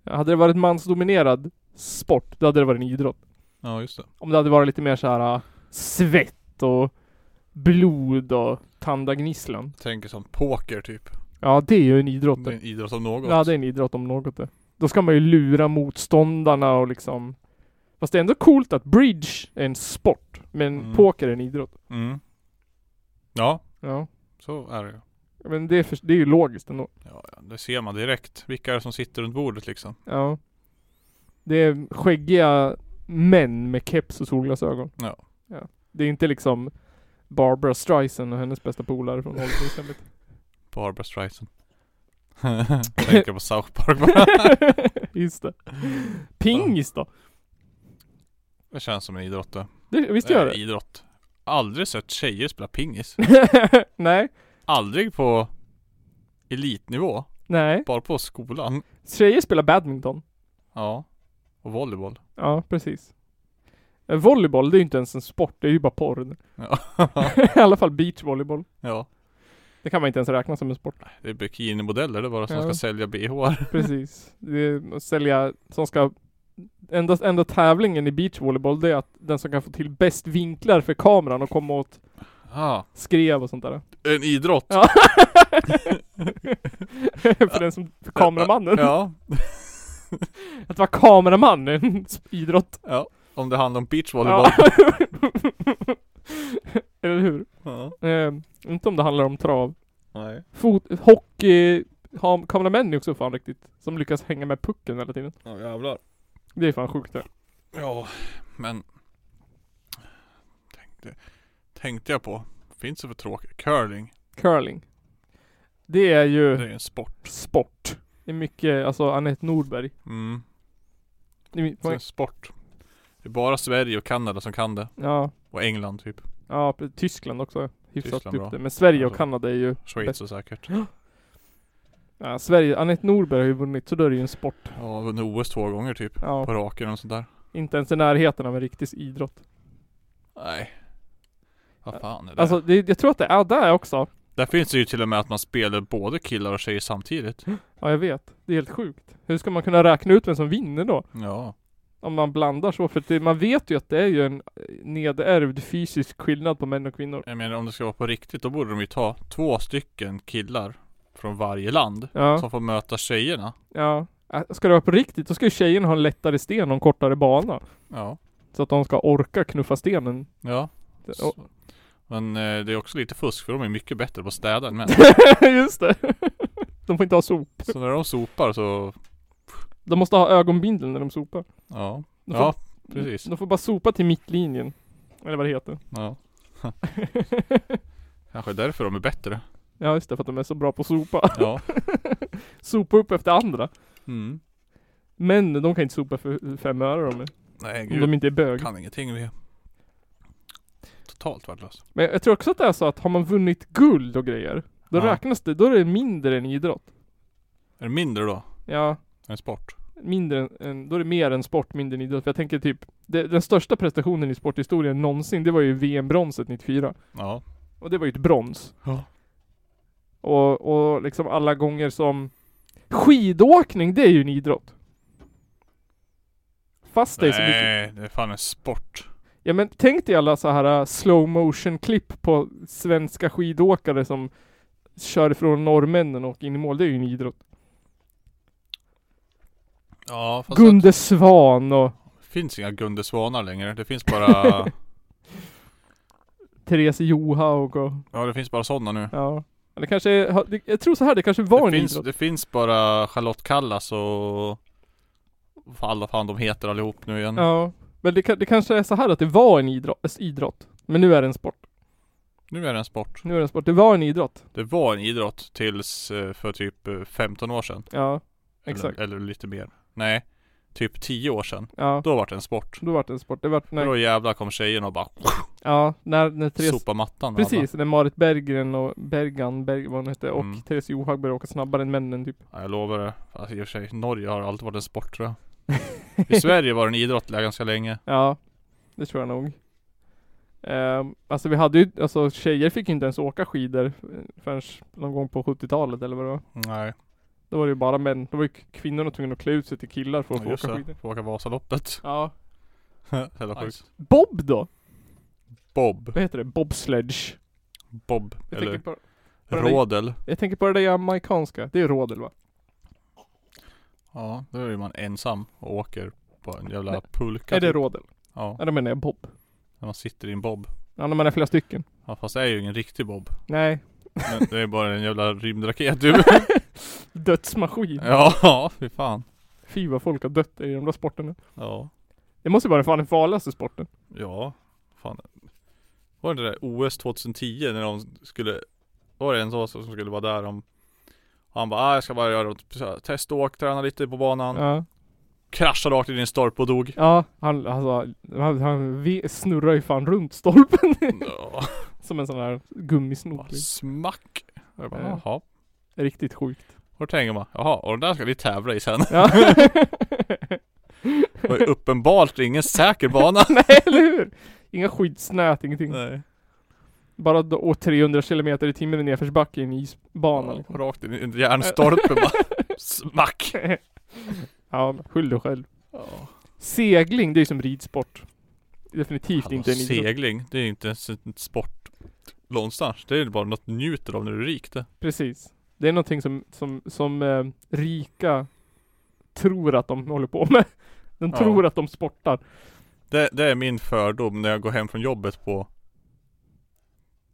Speaker 2: Hade det varit mansdominerad sport, då hade det varit en idrott.
Speaker 3: Ja, just det.
Speaker 2: Om det hade varit lite mer så här äh, svett och blod och tandagnisslan.
Speaker 3: Jag tänker som poker typ.
Speaker 2: Ja, det är ju en idrott.
Speaker 3: Det är en idrott om något.
Speaker 2: Ja, det är en idrott om något det. Då ska man ju lura motståndarna och liksom... Fast det är ändå coolt att bridge är en sport, men
Speaker 3: Mm.
Speaker 2: poker är en idrott.
Speaker 3: Mm. Ja,
Speaker 2: Ja.
Speaker 3: så är det ju.
Speaker 2: Men det är, för, det är ju logiskt ändå.
Speaker 3: Ja, ja, det ser man direkt. Vilka är det som sitter runt bordet liksom?
Speaker 2: Ja. Det är skäggiga män med keps och solglasögon.
Speaker 3: Ja.
Speaker 2: ja. Det är inte liksom Barbara Streisand och hennes bästa polare från Hollywood exemplet.
Speaker 3: Barbra Streisand. tänker på South Park bara.
Speaker 2: Just det. Pingis då?
Speaker 3: Det känns som en idrott det.
Speaker 2: Det, visst gör
Speaker 3: är Eh, Idrott. Aldrig sett tjejer spela pingis.
Speaker 2: det? nej.
Speaker 3: Aldrig på elitnivå.
Speaker 2: Nej.
Speaker 3: Bara på skolan.
Speaker 2: Tjejer spelar badminton.
Speaker 3: Ja. Och volleyboll.
Speaker 2: Ja, precis. Eh, Volleyboll, det är ju inte ens en sport. Det är ju bara porr.
Speaker 3: Ja.
Speaker 2: I alla fall beachvolleyboll.
Speaker 3: ja.
Speaker 2: Det kan man inte ens räkna som en sport.
Speaker 3: Det är bikinimodeller det är bara som
Speaker 2: Ja.
Speaker 3: ska sälja bhar.
Speaker 2: Precis. Det är att sälja, som ska... Endast, enda tävlingen i beachvolleyboll det är att den som kan få till bäst vinklar för kameran och komma åt
Speaker 3: Ah,
Speaker 2: skrev och sånt där.
Speaker 3: en idrott.
Speaker 2: Ja. för den som, för kameramannen.
Speaker 3: ja.
Speaker 2: Att vara kameraman är en idrott.
Speaker 3: Ja. Om det handlar om beachvolleyboll.
Speaker 2: Ja. Eller hur?
Speaker 3: Ja.
Speaker 2: Eh, inte om det handlar om trav.
Speaker 3: Nej.
Speaker 2: Fot, hockey, ha, kameramän är också fan riktigt. Som lyckas hänga med pucken hela tiden.
Speaker 3: Ja jävlar.
Speaker 2: Det är fan sjukt det.
Speaker 3: Ja, men tänkte, tänkte jag på. Finns det för tråkigt? Curling,
Speaker 2: Curling. Det är
Speaker 3: det
Speaker 2: ju
Speaker 3: är ju en sport.
Speaker 2: sport. Det är mycket, alltså Anette Norberg.
Speaker 3: Mm,
Speaker 2: Det är,
Speaker 3: det är en sport. Det är bara Sverige och Kanada som kan det.
Speaker 2: ja,
Speaker 3: Och England typ.
Speaker 2: ja, pre- Tyskland också. Hyfsat
Speaker 3: Tyskland bra.
Speaker 2: upp det. Men Sverige och
Speaker 3: Alltså.
Speaker 2: Kanada är ju,
Speaker 3: Schweiz och säkert.
Speaker 2: ja, Sverige, Anette Norberg har ju vunnit så då är det ju en sport.
Speaker 3: Ja, vunnit OS två gånger typ. På
Speaker 2: Ja,
Speaker 3: raken och sånt där.
Speaker 2: inte ens i närheten av en riktig idrott.
Speaker 3: Nej. Vad fan är det?
Speaker 2: Alltså det, jag tror att det är där också.
Speaker 3: där finns det ju till och med att man spelar både killar och tjejer samtidigt.
Speaker 2: Ja, jag vet. Det är helt sjukt. Hur ska man kunna räkna ut vem som vinner då?
Speaker 3: Ja.
Speaker 2: Om man blandar så, för det, man vet ju att det är ju en eh, nedärvd fysisk skillnad på män och kvinnor.
Speaker 3: Jag menar om det ska vara på riktigt då borde de ju ta två stycken killar från varje land.
Speaker 2: Ja,
Speaker 3: Som får möta tjejerna.
Speaker 2: ja. Äh, Ska det vara på riktigt, då ska ju tjejerna ha en lättare sten och en kortare bana.
Speaker 3: Ja.
Speaker 2: Så att de ska orka knuffa stenen.
Speaker 3: Ja.
Speaker 2: Det-
Speaker 3: Så. Men eh, det är också lite fusk för de är mycket bättre på att städa än män.
Speaker 2: och- Just det! De får inte ha sop.
Speaker 3: Så när de sopar så,
Speaker 2: De måste ha ögonbindeln när de sopar.
Speaker 3: ja.
Speaker 2: De
Speaker 3: ja,
Speaker 2: får,
Speaker 3: precis.
Speaker 2: De får bara sopa till mittlinjen. Eller vad det heter.
Speaker 3: ja. Kanske därför de är bättre.
Speaker 2: ja, just det, för att de är så bra på att sopa.
Speaker 3: Ja.
Speaker 2: sopa upp efter andra.
Speaker 3: Mm.
Speaker 2: Men de kan inte sopa för fem öre om,
Speaker 3: Nej
Speaker 2: om
Speaker 3: gud.
Speaker 2: de inte är bög.
Speaker 3: Kan ingenting vi är Totalt värdelös.
Speaker 2: Men jag tror också att det är så att har man vunnit guld och grejer, då
Speaker 3: Ja.
Speaker 2: räknas det, då är det mindre än idrott.
Speaker 3: Är det mindre då?
Speaker 2: Ja,
Speaker 3: En sport?
Speaker 2: mindre än- än, då är det mer än sport, mindre än idrott. För jag tänker typ, det, den största prestationen i sporthistorien någonsin, det var ju VM-bronset 94.
Speaker 3: Ja.
Speaker 2: Och det var ju ett brons.
Speaker 3: Ja.
Speaker 2: Och, och liksom alla gånger som Skidåkning, det är ju en idrott. Fast det är så mycket
Speaker 3: Nej, det är fan en sport.
Speaker 2: Ja men tänk dig alla så här äh, slow motion klipp på svenska skidåkare som kör från norrmännen och in i mål. Det är ju en idrott.
Speaker 3: Ja fast
Speaker 2: Gunde Svan och
Speaker 3: det finns inga Gunde Svanar längre. Det finns bara,
Speaker 2: Therese Johaug och
Speaker 3: ja det finns bara sådana nu.
Speaker 2: ja. Men Det kanske är, ha- det- jag tror så här, det kanske var
Speaker 3: det,
Speaker 2: en
Speaker 3: finns,
Speaker 2: idrott.
Speaker 3: det finns bara Charlotte Kallas och Vad alla fan de heter allihop nu igen.
Speaker 2: Ja. Men det, ka- det kanske är så här att det var en idrott, idrott. Men nu är det en sport.
Speaker 3: Nu är det en sport.
Speaker 2: Nu är det en sport. Det var en idrott.
Speaker 3: Det var en idrott tills eh, för typ eh, 15 år sedan.
Speaker 2: Ja. Exakt.
Speaker 3: Eller, eller lite mer. Nej. Typ 10 år sedan.
Speaker 2: Ja.
Speaker 3: Då var det en sport.
Speaker 2: Då var det en sport. Det var
Speaker 3: För
Speaker 2: när,
Speaker 3: Då jävlar kom tjejerna och bara
Speaker 2: ja, när, när Therese
Speaker 3: sopa mattan. med
Speaker 2: Precis, när Marit Berggren och Bergan, Berg, vad hon hette, och
Speaker 3: Mm.
Speaker 2: Therese Johaug började åka snabbare än männen typ.
Speaker 3: Alla. Ja, jag lovar det. Alltså, i och för sig, Norge har alltid varit en sport tror jag. I Sverige var det en idrott ganska länge.
Speaker 2: Ja, det tror jag nog. Ehm, alltså vi hade ju, alltså tjejer fick ju inte ens åka skidor eh, förrän någon gång på 70-talet eller vad det var.
Speaker 3: Nej.
Speaker 2: Då var det ju bara män, då var ju k- kvinnorna tvungna att klä ut sig till killar för att få
Speaker 3: just
Speaker 2: åka
Speaker 3: det.
Speaker 2: skidor.
Speaker 3: Får åka Vasaloppet.
Speaker 2: Ja.
Speaker 3: Jävla sjukt.
Speaker 2: Bob då?
Speaker 3: Bob.
Speaker 2: Vad heter det? Bobsledge?
Speaker 3: Bob.
Speaker 2: Jag,
Speaker 3: eller
Speaker 2: tänker, på, på den där-
Speaker 3: Rådel.
Speaker 2: jag tänker på det där jamaicanska, det är rodel va?
Speaker 3: Ja, då är man ensam och åker på en jävla
Speaker 2: Nej.
Speaker 3: pulka.
Speaker 2: är det
Speaker 3: typ.
Speaker 2: rodel?
Speaker 3: Ja,
Speaker 2: Ja då menar jag bob.
Speaker 3: när man sitter i en bob.
Speaker 2: Ja när man är flera stycken.
Speaker 3: Ja, fast det är ju ingen riktig bob.
Speaker 2: Nej.
Speaker 3: Men det är bara en jävla rymdraket du.
Speaker 2: Dödsmaskin.
Speaker 3: ja, fy fan.
Speaker 2: Fy vad folk har dött i de där sporterna.
Speaker 3: Ja.
Speaker 2: Det måste ju vara fan den farligaste sporten.
Speaker 3: Ja. Fan. Var det det där OS 2010 när de skulle Var det en sån som skulle vara där om Han bara ah, jag ska bara göra något så här, teståk, träna lite på banan
Speaker 2: Ja.
Speaker 3: Kraschade rakt in i en stolpe och dog
Speaker 2: Ja, han, alltså, han, han ve- snurrar ju fan runt stolpen.
Speaker 3: Ja.
Speaker 2: Som en sån här gummisnodd. liksom.
Speaker 3: Smack! Jag bara,
Speaker 2: Ja.
Speaker 3: jaha
Speaker 2: Riktigt sjukt.
Speaker 3: Och då tänker man, jaha och den där ska vi tävla i sen
Speaker 2: Ja.
Speaker 3: Det var ju uppenbart ingen säker bana
Speaker 2: Nej, eller hur? Inga skyddsnät, ingenting.
Speaker 3: Nej
Speaker 2: Bara då, och 300 kilometer i timmen i nedförsbacke i en isbana.
Speaker 3: ja,
Speaker 2: Liksom.
Speaker 3: Rakt in i en järnstolpe bara Smack!
Speaker 2: Ja, skyll dig själv.
Speaker 3: Ja.
Speaker 2: Segling, det är ju som ridsport. Definitivt
Speaker 3: Hallå,
Speaker 2: inte en idrott.
Speaker 3: segling, det är inte ens en sport någonstans. Det är bara något du njuter av när du är rik det.
Speaker 2: Precis. Det är någonting som, som, som eh, rika tror att de håller på med. De
Speaker 3: Ja.
Speaker 2: tror att de sportar.
Speaker 3: det. Det är min fördom när jag går hem från jobbet på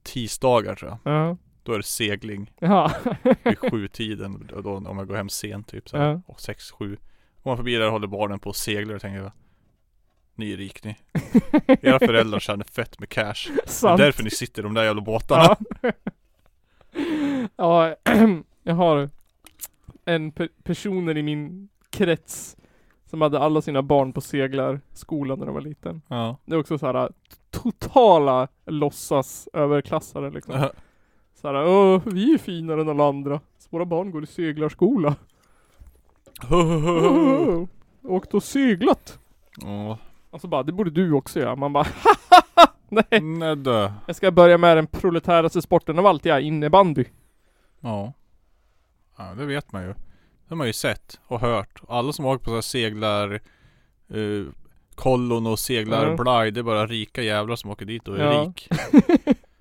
Speaker 3: tisdagar tror jag.
Speaker 2: Ja.
Speaker 3: Då är det segling
Speaker 2: Ja.
Speaker 3: vid sjutiden. Och då, om jag går hem sent typ så här,
Speaker 2: Ja.
Speaker 3: och sex, sju. Går man förbi där och håller barnen på och seglar och tänker jag Ni är rik ni. Era föräldrar tjänar fett med cash. Det är
Speaker 2: Sant.
Speaker 3: därför ni sitter i de där jävla båtarna.
Speaker 2: ja. ja, jag har en pe- personer i min krets som hade alla sina barn på seglarskolan när de var liten.
Speaker 3: Ja.
Speaker 2: Det är också så här äh, totala låtsas överklassare liksom. Så här, Åh, vi är finare än alla andra. Så våra barn går i seglarskola. Oh, åkt och seglat.
Speaker 3: Ja.
Speaker 2: Och så bara, det borde du också göra. Man bara, nej.
Speaker 3: Nej du.
Speaker 2: Jag ska börja med den proletäraste sporten av allt, jag är innebandy.
Speaker 3: Ja. ja, det vet man ju. Det har man ju sett och hört. Alla som åker på så här seglar eh, kollon och seglar
Speaker 2: Ja.
Speaker 3: blaj, det är bara rika jävlar som åker dit och är
Speaker 2: Ja.
Speaker 3: rik.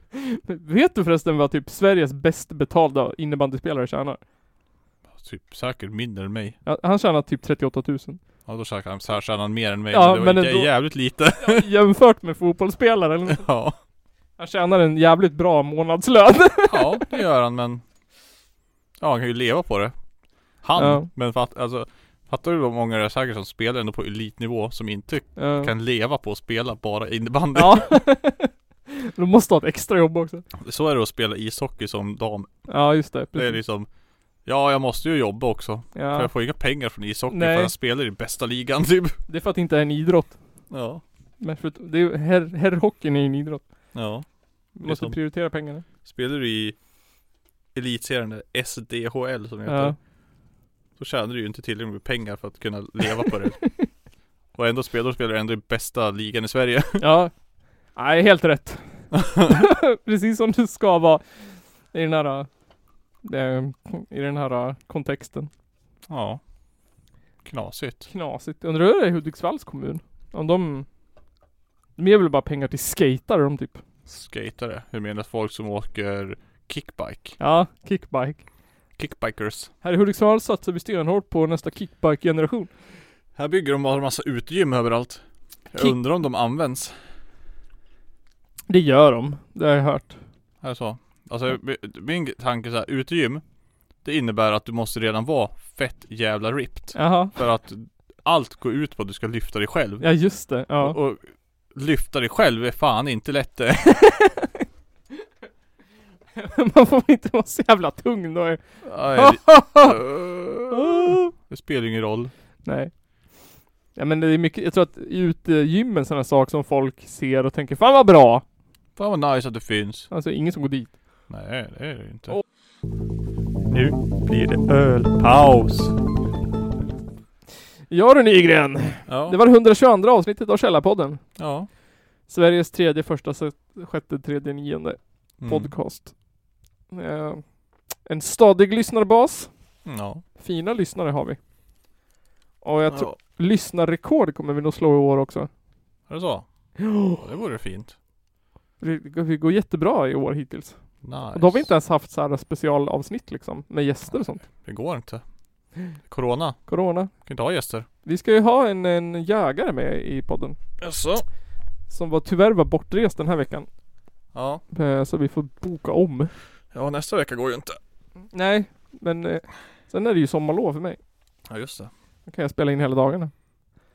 Speaker 2: Vet du förresten vad typ Sveriges bäst betalda innebandyspelare tjänar?
Speaker 3: Typ säkert mindre än mig.
Speaker 2: Ja, Han tjänar typ 38 000.
Speaker 3: Ja då tjänar han, så här tjänar han mer än mig.
Speaker 2: Ja,
Speaker 3: det var
Speaker 2: men
Speaker 3: jä-
Speaker 2: ändå.
Speaker 3: jävligt lite.
Speaker 2: Jämfört med fotbollsspelare eller något.
Speaker 3: ja.
Speaker 2: Han tjänar en jävligt bra månadslön.
Speaker 3: ja, det gör han men Ja han kan ju leva på det. Han.
Speaker 2: Ja.
Speaker 3: Men fatt, alltså, fattar du vad många det är säkert som spelar ändå på elitnivå som inte
Speaker 2: Ja.
Speaker 3: kan leva på att spela bara innebandy.
Speaker 2: Ja. De måste ha ett extra jobb också.
Speaker 3: Så är det att spela ishockey som dam
Speaker 2: Ja just det.
Speaker 3: Det är
Speaker 2: Precis.
Speaker 3: liksom Ja jag måste ju jobba också För
Speaker 2: Ja.
Speaker 3: jag får inga pengar från ishockey
Speaker 2: Nej.
Speaker 3: för jag spelar i bästa ligan typ
Speaker 2: Det är för att det inte är en idrott.
Speaker 3: Ja
Speaker 2: Men för att det är ju- herr, herrhockeyn är ju en idrott.
Speaker 3: Ja
Speaker 2: Man måste
Speaker 3: som-
Speaker 2: prioritera pengarna.
Speaker 3: Spelar du i Elitserien där SDHL som det heter
Speaker 2: Ja.
Speaker 3: Så tjänar du ju inte tillräckligt med pengar för att kunna leva på det Och ändå spelar, spelar du ändå i bästa ligan i Sverige
Speaker 2: ja. Nej, helt rätt. Precis som du ska vara i den här eh, i den här kontexten.
Speaker 3: Ja Knasigt
Speaker 2: knasigt. Undrar hur det är i Hudiksvalls kommun? Om de... De ger väl bara pengar till skatare de typ?
Speaker 3: Skatare, hur menas folk som åker kickbike?
Speaker 2: Ja, kickbike.
Speaker 3: Kickbikers
Speaker 2: Här i Hudiksvall satsar vi stenhårt på nästa kickbike-generation.
Speaker 3: Här bygger de bara en massa utegym överallt Jag
Speaker 2: Kick-
Speaker 3: undrar om de används
Speaker 2: Det gör de, det har jag hört.
Speaker 3: Är det så? Alltså mi- min tanke är så här, utegym Det innebär att du måste redan vara fett jävla ripped
Speaker 2: Jaha.
Speaker 3: För att allt går ut på att du ska lyfta dig själv.
Speaker 2: Ja just det, ja.
Speaker 3: Och, och lyfta dig själv är fan inte lätt det.
Speaker 2: Man får inte vara så jävla tung då.
Speaker 3: Nej, det- Det spelar ju ingen roll.
Speaker 2: Nej. Ja men det är mycket, jag tror att i utegymmen sådana saker som folk ser och tänker Fan vad bra!
Speaker 3: Fan vad nice att det finns.
Speaker 2: Alltså ingen som går dit.
Speaker 3: Nej, det är det ju inte.
Speaker 2: Åh.
Speaker 9: Nu blir det ölpaus.
Speaker 2: Ja du Nygren!
Speaker 3: Ja.
Speaker 2: Det var det 122 avsnittet av Källarpodden.
Speaker 3: Ja.
Speaker 2: Sveriges tredje, första, se- sjätte, tredje, nionde
Speaker 3: Mm.
Speaker 2: podcast. Eh, en stadig lyssnarbas.
Speaker 3: Ja.
Speaker 2: Fina lyssnare har vi. Och jag tror,
Speaker 3: ja.
Speaker 2: lyssnarrekord kommer vi nog slå i år också.
Speaker 3: Är det så? Ja, det vore fint.
Speaker 2: Det det går jättebra i år hittills.
Speaker 3: Nice.
Speaker 2: Och då har vi inte ens haft så här specialavsnitt liksom, med gäster och sånt.
Speaker 3: Det går inte. Corona.
Speaker 2: Corona.
Speaker 3: Kan inte ha gäster.
Speaker 2: Vi ska ju ha en, en jägare med i podden.
Speaker 3: Jaså?
Speaker 2: Som var, tyvärr var bortrest den här veckan.
Speaker 3: Ja.
Speaker 2: Eh, Så vi får boka om.
Speaker 3: Ja, nästa vecka går ju inte.
Speaker 2: Nej, men eh, sen är det ju sommarlov för mig.
Speaker 3: Ja, just det.
Speaker 2: Då kan jag spela in hela dagarna.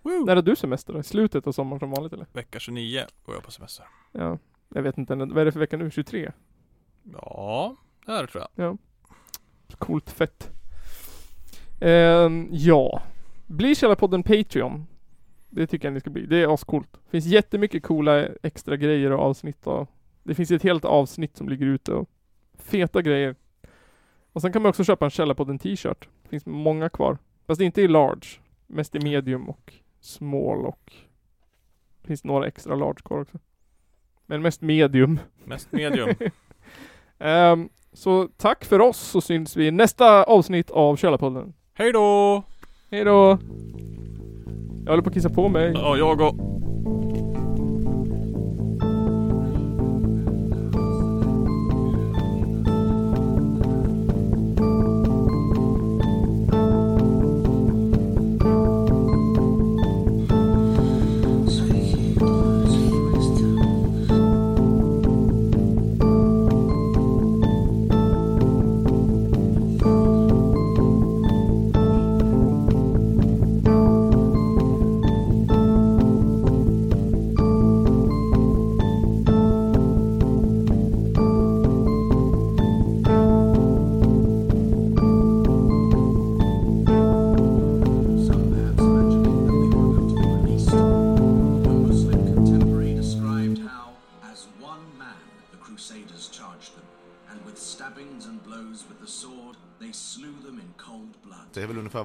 Speaker 3: Woo!
Speaker 2: När har du semester då? I slutet av sommaren som vanligt eller?
Speaker 3: Vecka 29 går jag på semester.
Speaker 2: Ja, jag vet inte. Vad är det för vecka nu? 23?
Speaker 3: Ja, det här tror jag.
Speaker 2: Coolt fett. Ehm, ja. Bli Källarpodden Patreon. Det tycker jag ni ska bli. Det är ascoolt. Det finns jättemycket coola extra grejer och avsnitt och Det finns ett helt avsnitt som ligger ute och feta grejer. Och sen kan man också köpa en Källarpodden t-shirt. Det finns många kvar. Fast inte i large. Mest i medium och small och det finns några extra large kvar också. Men mest medium.
Speaker 3: Mest medium.
Speaker 2: Ehm, så tack för oss så syns vi i nästa avsnitt av Källarpodden.
Speaker 3: Hej då!
Speaker 2: Hej då! Jag håller på att kissa på mig.
Speaker 3: Ja, jag och...
Speaker 10: Some bands mentioning that they were going to be released. One Muslim contemporary described how, as one man, the Crusaders charged them, and with stabbings and blows with the sword, they slew them in cold blood.
Speaker 11: Det är väl ungefär